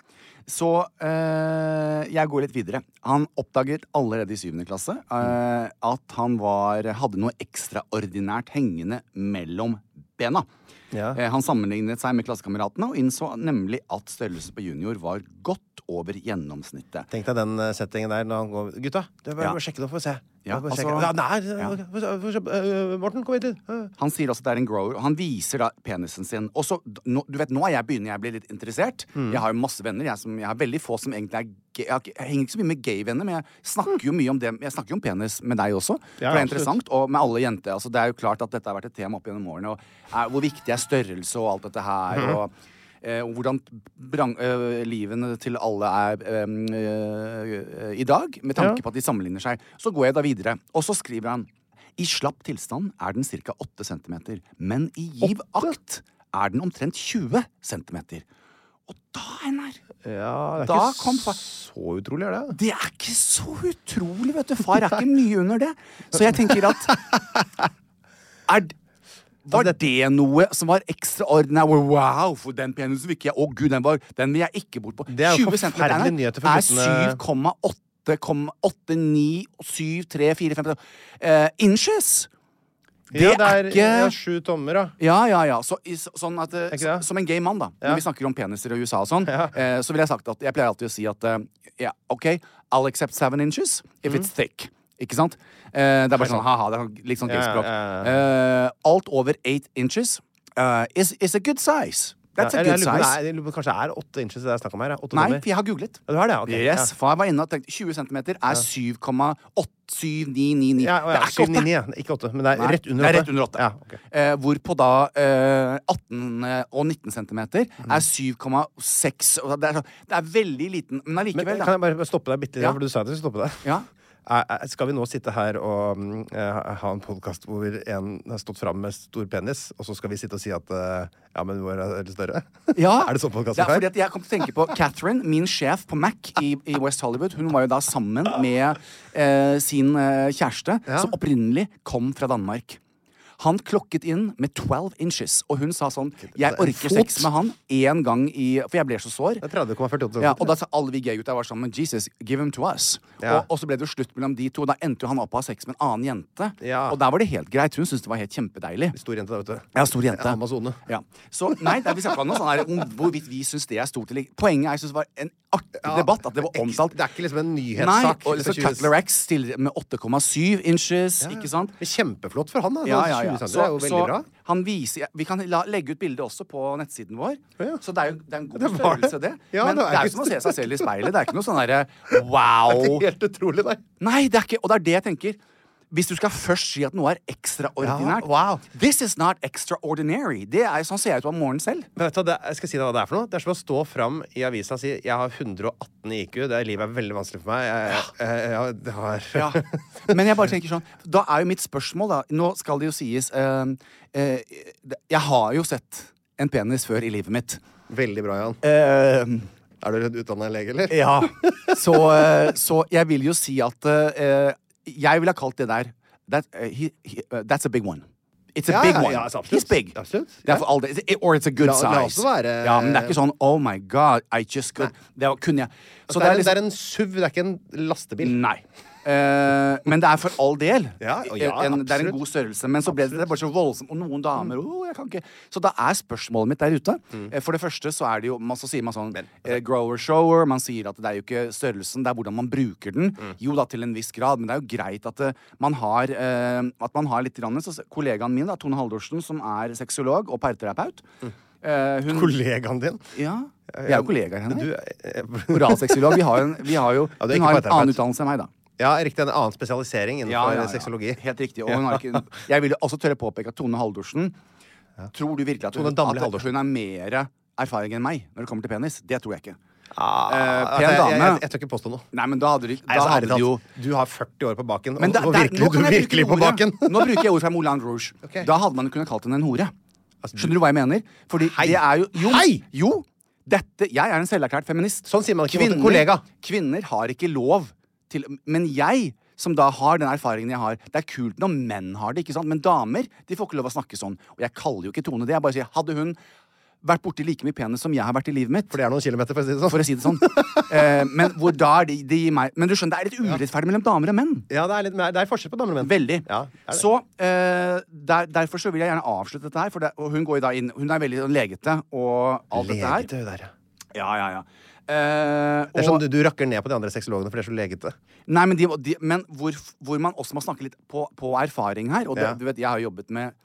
Speaker 1: Så eh, jeg går litt videre. Han oppdaget allerede i syvende klasse eh, at han var, hadde noe ekstraordinært hengende mellom bena.
Speaker 2: Ja.
Speaker 1: Eh, han sammenlignet seg med klassekameratene og innså nemlig at størrelsen på junior var godt over gjennomsnittet.
Speaker 2: Tenk deg den eh, settingen der når han går Gutta, det er bare
Speaker 1: Ja.
Speaker 2: bare sjekke det opp, får vi se.
Speaker 1: Ja,
Speaker 2: Bare sjekke.
Speaker 1: altså-
Speaker 2: Ja, nei,
Speaker 1: Ja.
Speaker 2: eh, få se- få se- eh, Morten, kom hit litt. Eh,
Speaker 1: Han sier også at det er en grower, og han viser da penisen sin. Og så, d- nå, du vet, nå er jeg begynner jeg å bli litt interessert.
Speaker 2: Mm.
Speaker 1: Jeg har jo masse venner. Jeg, som, jeg har veldig få som egentlig er gay. Jeg, har ikke- jeg henger ikke så mye med gay-venner, men jeg snakker jo mye om det. Jeg snakker jo om penis med deg også.
Speaker 2: Ja,
Speaker 1: for det er
Speaker 2: absolutt.
Speaker 1: interessant. Og med alle jenter. Altså, det er jo klart at dette har vært et tema opp gjennom årene. Og er, hvor viktig er størrelse og alt dette her. og... Eh, og hvordan brang, eh, livene til alle er eh, eh, i dag, med tanke
Speaker 2: Ja.
Speaker 1: på at de sammenligner seg. Så går jeg da videre, og så skriver han I slapp tilstand er den ca. 8 cm, men i giv akt er den omtrent 20 cm. Og da, Einar
Speaker 2: Ja, det er
Speaker 1: Da
Speaker 2: ikke
Speaker 1: kom fa-
Speaker 2: så utrolig, er det?
Speaker 1: Det er ikke så utrolig, vet du. Far er ikke mye under det. Så jeg tenker
Speaker 2: *laughs*
Speaker 1: at er, d-
Speaker 2: Altså,
Speaker 1: Var det noe som var ekstraordinært? Wow, for den penisen vil ikke jeg Å gud, den, var, den vil jeg ikke bort på.
Speaker 2: Det er jo
Speaker 1: 20 centimeter,
Speaker 2: forferdelige
Speaker 1: Einar,
Speaker 2: nyheter for guttene.
Speaker 1: Er 7,8,897345 eh, inches. Det
Speaker 2: ja, det er,
Speaker 1: er ikke
Speaker 2: ja, sju tommer, da.
Speaker 1: Ja, ja, ja. Så, i, så- sånn at, eh,
Speaker 2: ikke det?
Speaker 1: s- som en gay mann, da, når vi snakker om peniser og USA og sånn,
Speaker 2: *laughs* Ja.
Speaker 1: eh, så vil jeg sagt at jeg pleier alltid å si at eh, ja, OK, I'll accept seven inches if
Speaker 2: Mhm.
Speaker 1: it's thick. Ikke sant? Eh, det er bare sånn ha-ha. Det er litt sånn
Speaker 2: Ja,
Speaker 1: gayspråk.
Speaker 2: ja,
Speaker 1: Eh, alt over eight inches eh, is, is a good size. That's
Speaker 2: Ja,
Speaker 1: a
Speaker 2: eller
Speaker 1: good
Speaker 2: jeg lurer på-
Speaker 1: size.
Speaker 2: Nei, jeg lurer på- kanskje det er åtte inches det er snakk om her? ja. Åtte
Speaker 1: Nei,
Speaker 2: tommer.
Speaker 1: for jeg har googlet.
Speaker 2: Ja, du har det? ok.
Speaker 1: Yes, for jeg var inne og tenkte 20 cm er 7,87999.
Speaker 2: Ja. Ja, å ja,
Speaker 1: det er ikke åtte.
Speaker 2: 799, ikke åtte, men det er
Speaker 1: Nei,
Speaker 2: rett under
Speaker 1: det
Speaker 2: åtte.
Speaker 1: er rett under åtte.
Speaker 2: Ja, ok.
Speaker 1: Eh, hvorpå da eh, 18 og 19 cm
Speaker 2: Mm.
Speaker 1: er 7,6 og det, er så- det er veldig liten, men
Speaker 2: Men eh,
Speaker 1: allikevel,
Speaker 2: Kan
Speaker 1: da.
Speaker 2: jeg bare stoppe deg bitte litt?
Speaker 1: Ja.
Speaker 2: For du sa at jeg skulle stoppe deg.
Speaker 1: Ja.
Speaker 2: Er- er- Skal vi nå sitte her og mm, eh, ha en podkast hvor en har stått fram med stor penis, og så skal vi sitte og si at eh, ja, men vår er litt større? *laughs* Er det sånn podkasten
Speaker 1: Ja, fordi at jeg kom til å tenke på Catherine, min sjef på Mac i, i West Hollywood. Hun var jo da sammen med eh, sin eh, kjæreste, som opprinnelig kom fra Danmark. Han klokket inn med 12 inches, og hun sa sånn Jeg
Speaker 2: en
Speaker 1: orker
Speaker 2: fot.
Speaker 1: sex med han én gang i For jeg ble så sår.
Speaker 2: Det er 30,48 cm.
Speaker 1: Ja, og da sa alle vi gaygutta var sammen Jesus, give him to us.
Speaker 2: Ja.
Speaker 1: Og, og så ble det jo slutt mellom de to. Da endte jo han opp å ha sex med en annen jente.
Speaker 2: Ja.
Speaker 1: Og der var det helt greit. Hun syntes det var helt kjempedeilig.
Speaker 2: Stor jente, da, vet du.
Speaker 1: Ja, stor jente.
Speaker 2: Ja, Amazone.
Speaker 1: Ja. Så nei, det er, vi snakka om noe sånn her om hvorvidt vi syns det er stort eller ikke. Poenget er jeg syns det var en artig
Speaker 2: Ja,
Speaker 1: debatt. At det var
Speaker 2: ekstra-
Speaker 1: omtalt.
Speaker 2: det er ikke liksom en
Speaker 1: Nei,
Speaker 2: nyhetssak.
Speaker 1: og så
Speaker 2: Liksom
Speaker 1: Cutler X stiller med 8,7 inches, ikke sant?
Speaker 2: Men Kjempeflott for han, da.
Speaker 1: Ja, ja, ja.
Speaker 2: 20 cm
Speaker 1: Så,
Speaker 2: er jo veldig
Speaker 1: så
Speaker 2: bra.
Speaker 1: han viser Vi kan la, legge ut bilde også på nettsiden vår.
Speaker 2: ja.
Speaker 1: Så det er jo det er en god
Speaker 2: *laughs* Det var det.
Speaker 1: størrelse, det.
Speaker 2: Ja,
Speaker 1: Men det
Speaker 2: det er
Speaker 1: er
Speaker 2: jo
Speaker 1: jo som å se seg selv i speilet. Det er ikke noe sånn derre
Speaker 2: *laughs*
Speaker 1: wow.
Speaker 2: Helt utrolig, nei.
Speaker 1: Nei, det er ikke Og det er det jeg tenker. Hvis du skal først si at noe er ekstraordinært
Speaker 2: Ja, wow.
Speaker 1: This is not extraordinary. Det er Sånn ser jeg ut om morgenen selv.
Speaker 2: Men vet du, hva det, jeg skal si deg hva det er for noe. Det er som å stå fram i avisa og si jeg har 118 i IQ, det er, livet er veldig vanskelig for meg. Jeg, jeg, jeg, jeg, det har *laughs*
Speaker 1: Ja. Men jeg bare tenker sånn Da er jo mitt spørsmål, da Nå skal det jo sies eh, eh, Jeg har jo sett en penis før i livet mitt.
Speaker 2: Veldig bra, Jan.
Speaker 1: Eh,
Speaker 2: Er du utdanna lege, eller? *laughs*
Speaker 1: Ja. Så, eh, så jeg vil jo si at eh, Jeg ville ha kalt det der that, eh, he, he, eh, That's a big one. It's a
Speaker 2: Ja,
Speaker 1: big
Speaker 2: ja,
Speaker 1: one.
Speaker 2: ja, altså, absolutt.
Speaker 1: He's big.
Speaker 2: Absolutt,
Speaker 1: Det er for all det. It's- Or it's a good
Speaker 2: La- la oss
Speaker 1: size.
Speaker 2: være-
Speaker 1: ja, men det er ikke sånn Oh my God, I just got Det liksom- var- kunne jeg Så
Speaker 2: det, er, en- det er en SUV, det er ikke en lastebil.
Speaker 1: Nei. Eh, men det er for all del.
Speaker 2: Ja, og ja,
Speaker 1: en, det er en
Speaker 2: absolutt. Mm.
Speaker 1: god størrelse. Men så ble det bare så voldsomt. Og noen damer «Åh, jeg kan ikke. Så da er spørsmålet mitt der ute. Eh, For det første så er det jo man, Så sier man sånn eh, grower shower. Man sier at det er jo ikke størrelsen, det er hvordan man bruker den.
Speaker 2: Mm.
Speaker 1: Jo da, til en viss grad, men det er jo greit at eh, man har eh, At man har litt grann, så, Kollegaen min, da, Tone Haldorsen, som er sexolog og parterapeut
Speaker 2: Mm.
Speaker 1: eh, hun,
Speaker 2: Kollegaen din.
Speaker 1: ja, Vi er jo kollegaer,
Speaker 2: Du,
Speaker 1: henne.
Speaker 2: eh,
Speaker 1: Moralsexolog. Vi har jo, en, vi har jo
Speaker 2: Ja, du er ikke
Speaker 1: Hun har en
Speaker 2: parterapeut.
Speaker 1: annen utdannelse enn meg, da.
Speaker 2: ja, riktig. En annen spesialisering innenfor sexologi. Eh,
Speaker 1: Helt riktig. Og hun har ikke, jeg vil også tørre å påpeke at Tone Haldorsen Tror du virkelig at hun,
Speaker 2: Tone Damli
Speaker 1: at
Speaker 2: Haldorsen.
Speaker 1: hun er mer erfaring enn meg når det kommer til penis? Det tror jeg ikke.
Speaker 2: Ah,
Speaker 1: Eh,
Speaker 2: jeg,
Speaker 1: pen
Speaker 2: jeg, jeg,
Speaker 1: dame.
Speaker 2: jeg tør ikke påstå noe.
Speaker 1: Nei, men da hadde de, da
Speaker 2: Nei, altså, ærlig
Speaker 1: hadde de jo
Speaker 2: talt, Du har 40 år på baken,
Speaker 1: Men da-
Speaker 2: og, og
Speaker 1: der-
Speaker 2: virkelig,
Speaker 1: nå
Speaker 2: du
Speaker 1: kan jeg
Speaker 2: virkelig
Speaker 1: bruke
Speaker 2: på baken.
Speaker 1: ordet. Nå bruker jeg ord fra Moulin Rouge.
Speaker 2: *laughs* Ok. Altså,
Speaker 1: Da hadde man kunnet kalt henne en hore. Skjønner du hva jeg mener? Fordi
Speaker 2: Hei.
Speaker 1: det er jo Jo!
Speaker 2: Hei!
Speaker 1: jo dette, jeg er en selverklært feminist.
Speaker 2: Sånn sier man ikke mot en kollega.
Speaker 1: Kvinner har ikke lov til Men jeg, som da har den erfaringen jeg har Det er kult når menn har det, ikke sant? men damer de får ikke lov å snakke sånn. Og jeg kaller jo ikke Tone det. Jeg bare sier hadde hun vært borti like mye penis som jeg har vært i livet mitt
Speaker 2: *laughs* For det er noen kilometer, for å si det sånn.
Speaker 1: for å si det sånn.
Speaker 2: *laughs*
Speaker 1: eh, men hvor da er de, de gir meg Men du skjønner, det er litt urettferdig mellom damer og menn.
Speaker 2: Ja, det er, litt, mer- det er forskjell på damer og menn.
Speaker 1: Veldig.
Speaker 2: Ja, det er det.
Speaker 1: Så eh, der, derfor så vil jeg gjerne avslutte dette her. For det, og hun går jo da inn Hun er veldig sånn legete og alt
Speaker 2: Legete,
Speaker 1: dette her.
Speaker 2: hun der, ja.
Speaker 1: Ja, ja, ja. Eh,
Speaker 2: Det er
Speaker 1: og,
Speaker 2: sånn du, du rakker ned på de andre sexologene, for de er så legete.
Speaker 1: nei, men, de, de, men hvor, hvor man også må snakke litt på, på erfaring her. Og det,
Speaker 2: Ja.
Speaker 1: du vet, jeg har jobbet med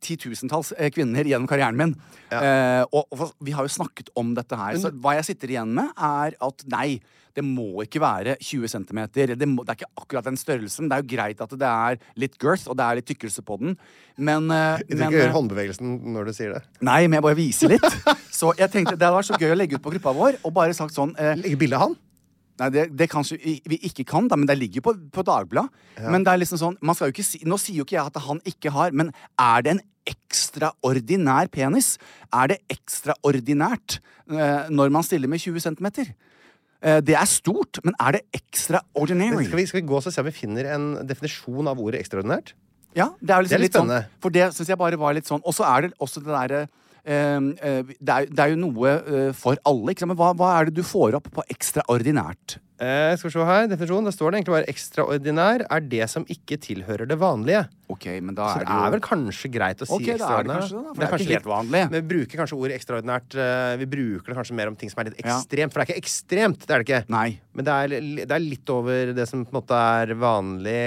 Speaker 1: titusentalls eh, kvinner gjennom karrieren min. Eh, og, og for- vi har jo snakket om dette her. Så hva jeg sitter igjen med, er at nei, det må ikke være 20 cm. Det, må- det er ikke akkurat den størrelsen. Det er jo greit at det er litt girth, og det er litt tykkelse på den, men, eh,
Speaker 2: Du
Speaker 1: men
Speaker 2: ikke
Speaker 1: eh,
Speaker 2: gjøre håndbevegelsen når du sier det.
Speaker 1: Nei, men jeg bare viser
Speaker 2: *laughs*
Speaker 1: litt. Så jeg tenkte det hadde vært så gøy å legge ut på gruppa vår og bare sagt sånn eh,
Speaker 2: Legge bilde av han.
Speaker 1: Nei, det, det kanskje vi vi ikke kan, da, men det ligger jo på, på Dagbladet. Men det er liksom sånn man skal jo ikke si, Nå sier jo ikke jeg at han ikke har, men er det en ekstraordinær penis? Er det ekstraordinært eh, når man stiller med 20 cm? Eh, det er stort, men er det extraordinary?
Speaker 2: Skal vi, skal vi gå og så se om vi finner en definisjon av ordet ekstraordinært?
Speaker 1: Ja, det er, jo liksom
Speaker 2: Det er litt
Speaker 1: litt sånn,
Speaker 2: spennende.
Speaker 1: For det syns jeg bare var litt sånn. Og så er det også det derre ehm, eh, det, er, det er jo noe eh, for alle, ikke sant? men hva, hva er det du får opp på ekstraordinært?
Speaker 2: Eh, skal vi se her, definisjonen. Der står det egentlig bare 'ekstraordinær er det som ikke tilhører det vanlige'.
Speaker 1: Ok, men da
Speaker 2: Så
Speaker 1: er
Speaker 2: det
Speaker 1: det jo
Speaker 2: er vel kanskje greit å si
Speaker 1: Ok, da er det
Speaker 2: ekstraordinær.
Speaker 1: kanskje det, da, for det er ikke helt
Speaker 2: litt-
Speaker 1: vanlig.
Speaker 2: Vi bruker kanskje ordet ekstraordinært eh, Vi bruker det kanskje mer om ting som er litt
Speaker 1: Ja.
Speaker 2: ekstremt. For det er ikke ekstremt, det er det ikke.
Speaker 1: Nei.
Speaker 2: Men det er, li- det er litt over det som på en måte er vanlig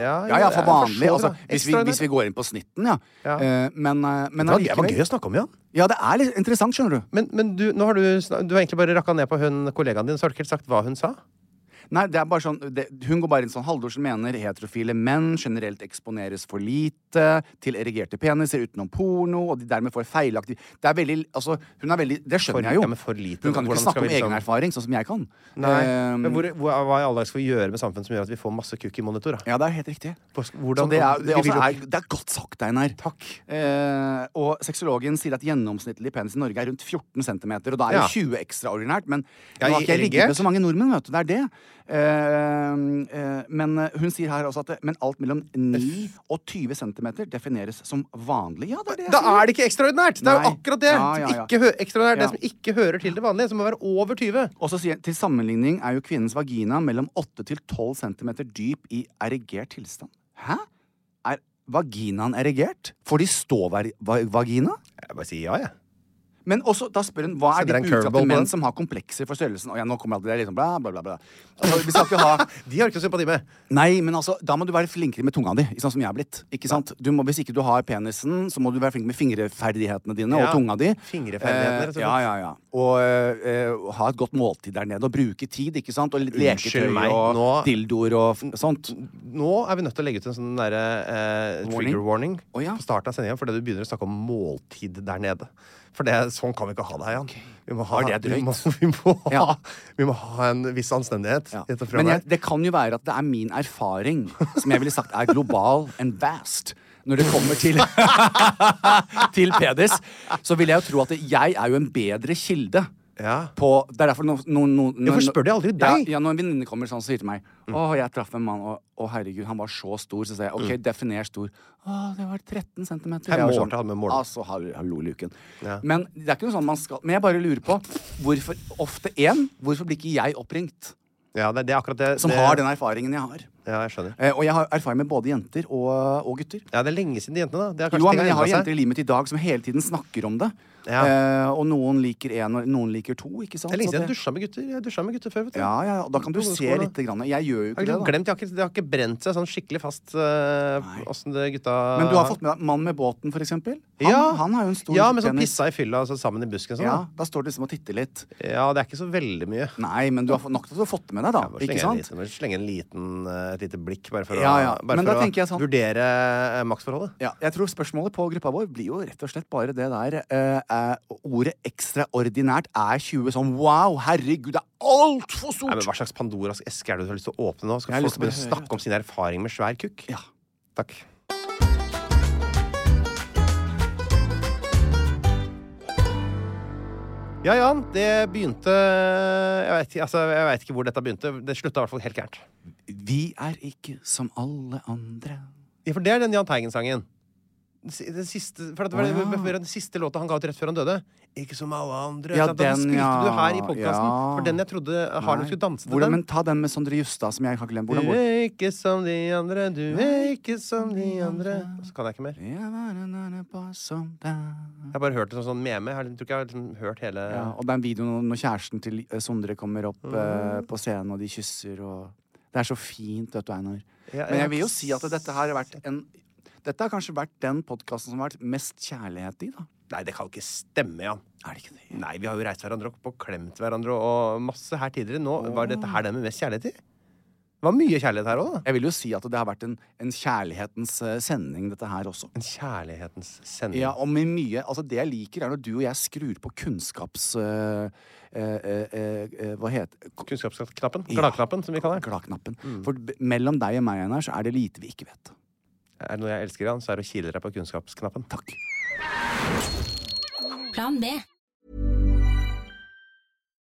Speaker 2: Ja,
Speaker 1: Ja, ja, for vanlig. Altså, hvis, vi,
Speaker 2: Ekstraordinært.
Speaker 1: hvis vi går inn på snitten, ja.
Speaker 2: Ja.
Speaker 1: Eh, men eh, men
Speaker 2: Ja, det var
Speaker 1: allikevel-
Speaker 2: gøy å snakke om, Jan.
Speaker 1: Ja, det er litt interessant, skjønner du.
Speaker 2: Men, men du, nå har du, snak- du har egentlig bare rakka ned på hun kollegaen din, så har du ikke helt sagt hva hun sa.
Speaker 1: Nei, det er bare sånn det, Hun går bare inn sånn Haldorsen mener heterofile menn generelt eksponeres for lite til erigerte peniser utenom porno, og de dermed får feilaktig Det er veldig Altså, hun er veldig Det
Speaker 2: For-
Speaker 1: skjønner jeg jo.
Speaker 2: ja, men for lite,
Speaker 1: hun kan jo ikke
Speaker 2: hvordan skal
Speaker 1: snakke om
Speaker 2: vi liksom-
Speaker 1: egen erfaring, sånn som jeg kan. Eh,
Speaker 2: Men hvor, hvor, hva i all dag skal vi gjøre med samfunnet som gjør at vi får masse kukk i monitor? Da?
Speaker 1: ja, det er helt riktig.
Speaker 2: Hva- hvordan-
Speaker 1: så det er,
Speaker 2: vi
Speaker 1: det,
Speaker 2: vil
Speaker 1: også
Speaker 2: jo
Speaker 1: er, det er godt sagt, Einar. Takk. Eh, og sexologen sier at gjennomsnittlig penis i Norge er rundt 14 cm, og da er
Speaker 2: Ja.
Speaker 1: jo 20 ekstraordinært. Men
Speaker 2: Ja,
Speaker 1: nå har ikke jeg
Speaker 2: irrigert.
Speaker 1: ligget med så mange nordmenn, vet du. Det er det. Eh, eh, men eh, hun sier her også at eh, men alt mellom 9 og 20 cm defineres som vanlig. Ja, det er det. jeg
Speaker 2: Da
Speaker 1: sier.
Speaker 2: er det ikke ekstraordinært! Det er jo
Speaker 1: Nei.
Speaker 2: akkurat det!
Speaker 1: Ja, ja,
Speaker 2: som
Speaker 1: ja.
Speaker 2: Ikke hø ekstraordinært,
Speaker 1: Ja.
Speaker 2: Det som ikke hører til det vanlige, som må være over 20.
Speaker 1: Og så sier til sammenligning er jo kvinnens vagina mellom 8 til 12 cm dyp i erigert tilstand. Hæ? Er vaginaen erigert? Får de ståvagina?
Speaker 2: Jeg bare sier ja, jeg.
Speaker 1: Men også, da spør hun hva er
Speaker 2: Sender
Speaker 1: de
Speaker 2: en curveball
Speaker 1: utsatte
Speaker 2: på den?
Speaker 1: menn som har komplekser for størrelsen. Og ja, nå kommer alt det der liksom bla, bla, bla. bla. Altså, vi skal ikke
Speaker 2: *laughs*
Speaker 1: ha
Speaker 2: De har ikke noe sympati med.
Speaker 1: Nei, men altså, da må du være flinkere med tunga di, sånn som jeg er blitt. Ikke sant? Du må, hvis ikke du har penisen, så må du være flink med fingerferdighetene dine
Speaker 2: Ja,
Speaker 1: og tunga di.
Speaker 2: fingreferdigheter, rett og slett.
Speaker 1: Eh, ja, ja, ja. Og eh, eh, ha et godt måltid der nede, og bruke tid, ikke sant? Og litt leketøy
Speaker 2: Unnskyld meg,
Speaker 1: og
Speaker 2: nå-
Speaker 1: dildoer og f sånt.
Speaker 2: Nå er vi nødt til å legge ut en sånn derre eh, trigger warning
Speaker 1: Å, ja.
Speaker 2: på starten av sendinga, fordi du begynner å snakke om måltid der nede. For det, sånn kan vi ikke ha det her, Jan. Vi må ha,
Speaker 1: Var det
Speaker 2: *laughs* vi må,
Speaker 1: drøyt?
Speaker 2: vi, må ha,
Speaker 1: Ja.
Speaker 2: vi må ha en viss anstendighet.
Speaker 1: Ja.
Speaker 2: i dette
Speaker 1: Men jeg,
Speaker 2: programmet.
Speaker 1: det kan jo være at det er min erfaring, som jeg ville sagt er global and vast. Når det kommer til, *laughs* til penis, så vil jeg jo tro at jeg er jo en bedre kilde.
Speaker 2: Ja.
Speaker 1: På, det er derfor no, no, no,
Speaker 2: Hvorfor spør de aldri deg? Mm.
Speaker 1: Ja, ja, når en venninne kommer sånn, så sier til meg Å, jeg traff en mann, og, og herregud, han var så stor. Så sier jeg OK, definer stor. Å, det var 13 cm.
Speaker 2: Mm. Her målte han med mål.
Speaker 1: Altså, hallo, hallo luken. Men det er ikke noe sånn man skal Men jeg bare lurer på hvorfor ofte én, hvorfor blir ikke jeg oppringt?
Speaker 2: Ja, det, det er akkurat det.
Speaker 1: Som
Speaker 2: det,
Speaker 1: har den erfaringen jeg har.
Speaker 2: Ja, jeg skjønner.
Speaker 1: Eh, og jeg har erfaring med både jenter og, og gutter.
Speaker 2: Ja, det er lenge siden de jentene, da. Det er kanskje
Speaker 1: Jo,
Speaker 2: ting
Speaker 1: men
Speaker 2: har
Speaker 1: jeg har
Speaker 2: endret seg.
Speaker 1: jenter i livet mitt i dag som hele tiden snakker om det.
Speaker 2: Ja.
Speaker 1: Eh, og noen liker én, og noen liker to. ikke sant?
Speaker 2: Det er lenge
Speaker 1: Så
Speaker 2: siden jeg dusja med gutter. Jeg dusja med gutter før, vet du.
Speaker 1: ja, ja, og Da kan du
Speaker 2: På
Speaker 1: se
Speaker 2: ungdomsskolen, da.
Speaker 1: litt. Grann. Jeg gjør jo
Speaker 2: Jeg
Speaker 1: ikke
Speaker 2: har
Speaker 1: det.
Speaker 2: liksom
Speaker 1: da
Speaker 2: glemt, jeg har ikke, det har ikke brent seg sånn skikkelig fast eh, åssen det gutta
Speaker 1: Men du har fått med deg Mann med båten, for eksempel. Han,
Speaker 2: ja.
Speaker 1: han har jo en stor
Speaker 2: Ja, men så
Speaker 1: penis.
Speaker 2: pissa i fylla altså, sammen i busken og sånn.
Speaker 1: Ja,
Speaker 2: da.
Speaker 1: Da står du liksom og titter litt.
Speaker 2: Ja, det er ikke så veldig mye.
Speaker 1: Nei, men du har fått- nok til at du har fått det med deg, da.
Speaker 2: Jeg må slenge,
Speaker 1: ikke
Speaker 2: en
Speaker 1: sant?
Speaker 2: liten, må slenge en liten, eh, et lite blikk, bare for
Speaker 1: Ja, ja.
Speaker 2: å, bare
Speaker 1: Men da
Speaker 2: for å
Speaker 1: tenker jeg sånn-
Speaker 2: vurdere eh, maksforholdet.
Speaker 1: Ja, jeg tror spørsmålet på gruppa vår blir jo rett og slett bare det der eh, eh, Ordet ekstraordinært er 20 sånn wow, herregud, det er altfor
Speaker 2: Nei,
Speaker 1: stort!
Speaker 2: men Hva slags Pandoras eske er det du har lyst til å åpne nå?
Speaker 1: Jeg har
Speaker 2: Skal folk
Speaker 1: lyst til å
Speaker 2: begynne å
Speaker 1: bare høre,
Speaker 2: snakke om sin erfaring med svær kukk?
Speaker 1: Ja.
Speaker 2: Takk. Ja, Jan, det begynte Jeg veit ikke- altså, jeg vet ikke hvor dette begynte. Det slutta i hvert fall helt gærent.
Speaker 1: Vi er ikke som alle andre.
Speaker 2: Ja, for det er den Jahn Teigen-sangen. Den si- Den siste, for at det var
Speaker 1: Å, ja.
Speaker 2: det- den siste låta han ga ut rett før han døde. Ikke som alle andre.
Speaker 1: Ja,
Speaker 2: sant? den,
Speaker 1: den,
Speaker 2: spilte du
Speaker 1: ja,
Speaker 2: her i podkasten.
Speaker 1: ja.
Speaker 2: For den jeg trodde Harlem skulle danse til
Speaker 1: Hvordan,
Speaker 2: den.
Speaker 1: Men ta den med Sondre Justad, som jeg har glemt. Hvordan
Speaker 2: Du
Speaker 1: går
Speaker 2: er ikke som de andre, du er ikke som de andre. Og så kan jeg ikke mer.
Speaker 1: Jeg var en annen på som deg.
Speaker 2: Jeg har bare hørt det som sånn meme. Jeg har liksom- tror ikke jeg har liksom hørt hele
Speaker 1: Ja, og den videoen når kjæresten til eh, Sondre kommer opp
Speaker 2: Mm.
Speaker 1: eh, på scenen, og de kysser og Det er så fint, vet du, Einar.
Speaker 2: Ja,
Speaker 1: Men
Speaker 2: ja.
Speaker 1: jeg vil jo si at dette her har vært en Dette har kanskje vært den podkasten som har vært mest kjærlighet i, da.
Speaker 2: Nei, det kan jo ikke stemme, Jan.
Speaker 1: Er det ikke det?
Speaker 2: Nei, vi har jo reist hverandre opp og klemt hverandre og masse her tidligere. Nå var dette her den med mest kjærlighet i. Det var mye kjærlighet her òg, da.
Speaker 1: Jeg vil jo si at det har vært en, en kjærlighetens eh, sending, dette her også.
Speaker 2: En kjærlighetens sending.
Speaker 1: Ja, og med mye Altså, det jeg liker, er når du og jeg skrur på kunnskaps... eh, eh, eh, eh, hva heter
Speaker 2: Kunnskapsknappen.
Speaker 1: Ja.
Speaker 2: Gladknappen, som vi kaller Mm. den.
Speaker 1: Gladknappen. For b- mellom deg og meg, Einar, så er det lite vi ikke vet.
Speaker 2: Er det noe jeg elsker, Jan, så er det å kile deg på kunnskapsknappen.
Speaker 1: Takk.
Speaker 5: Plan B.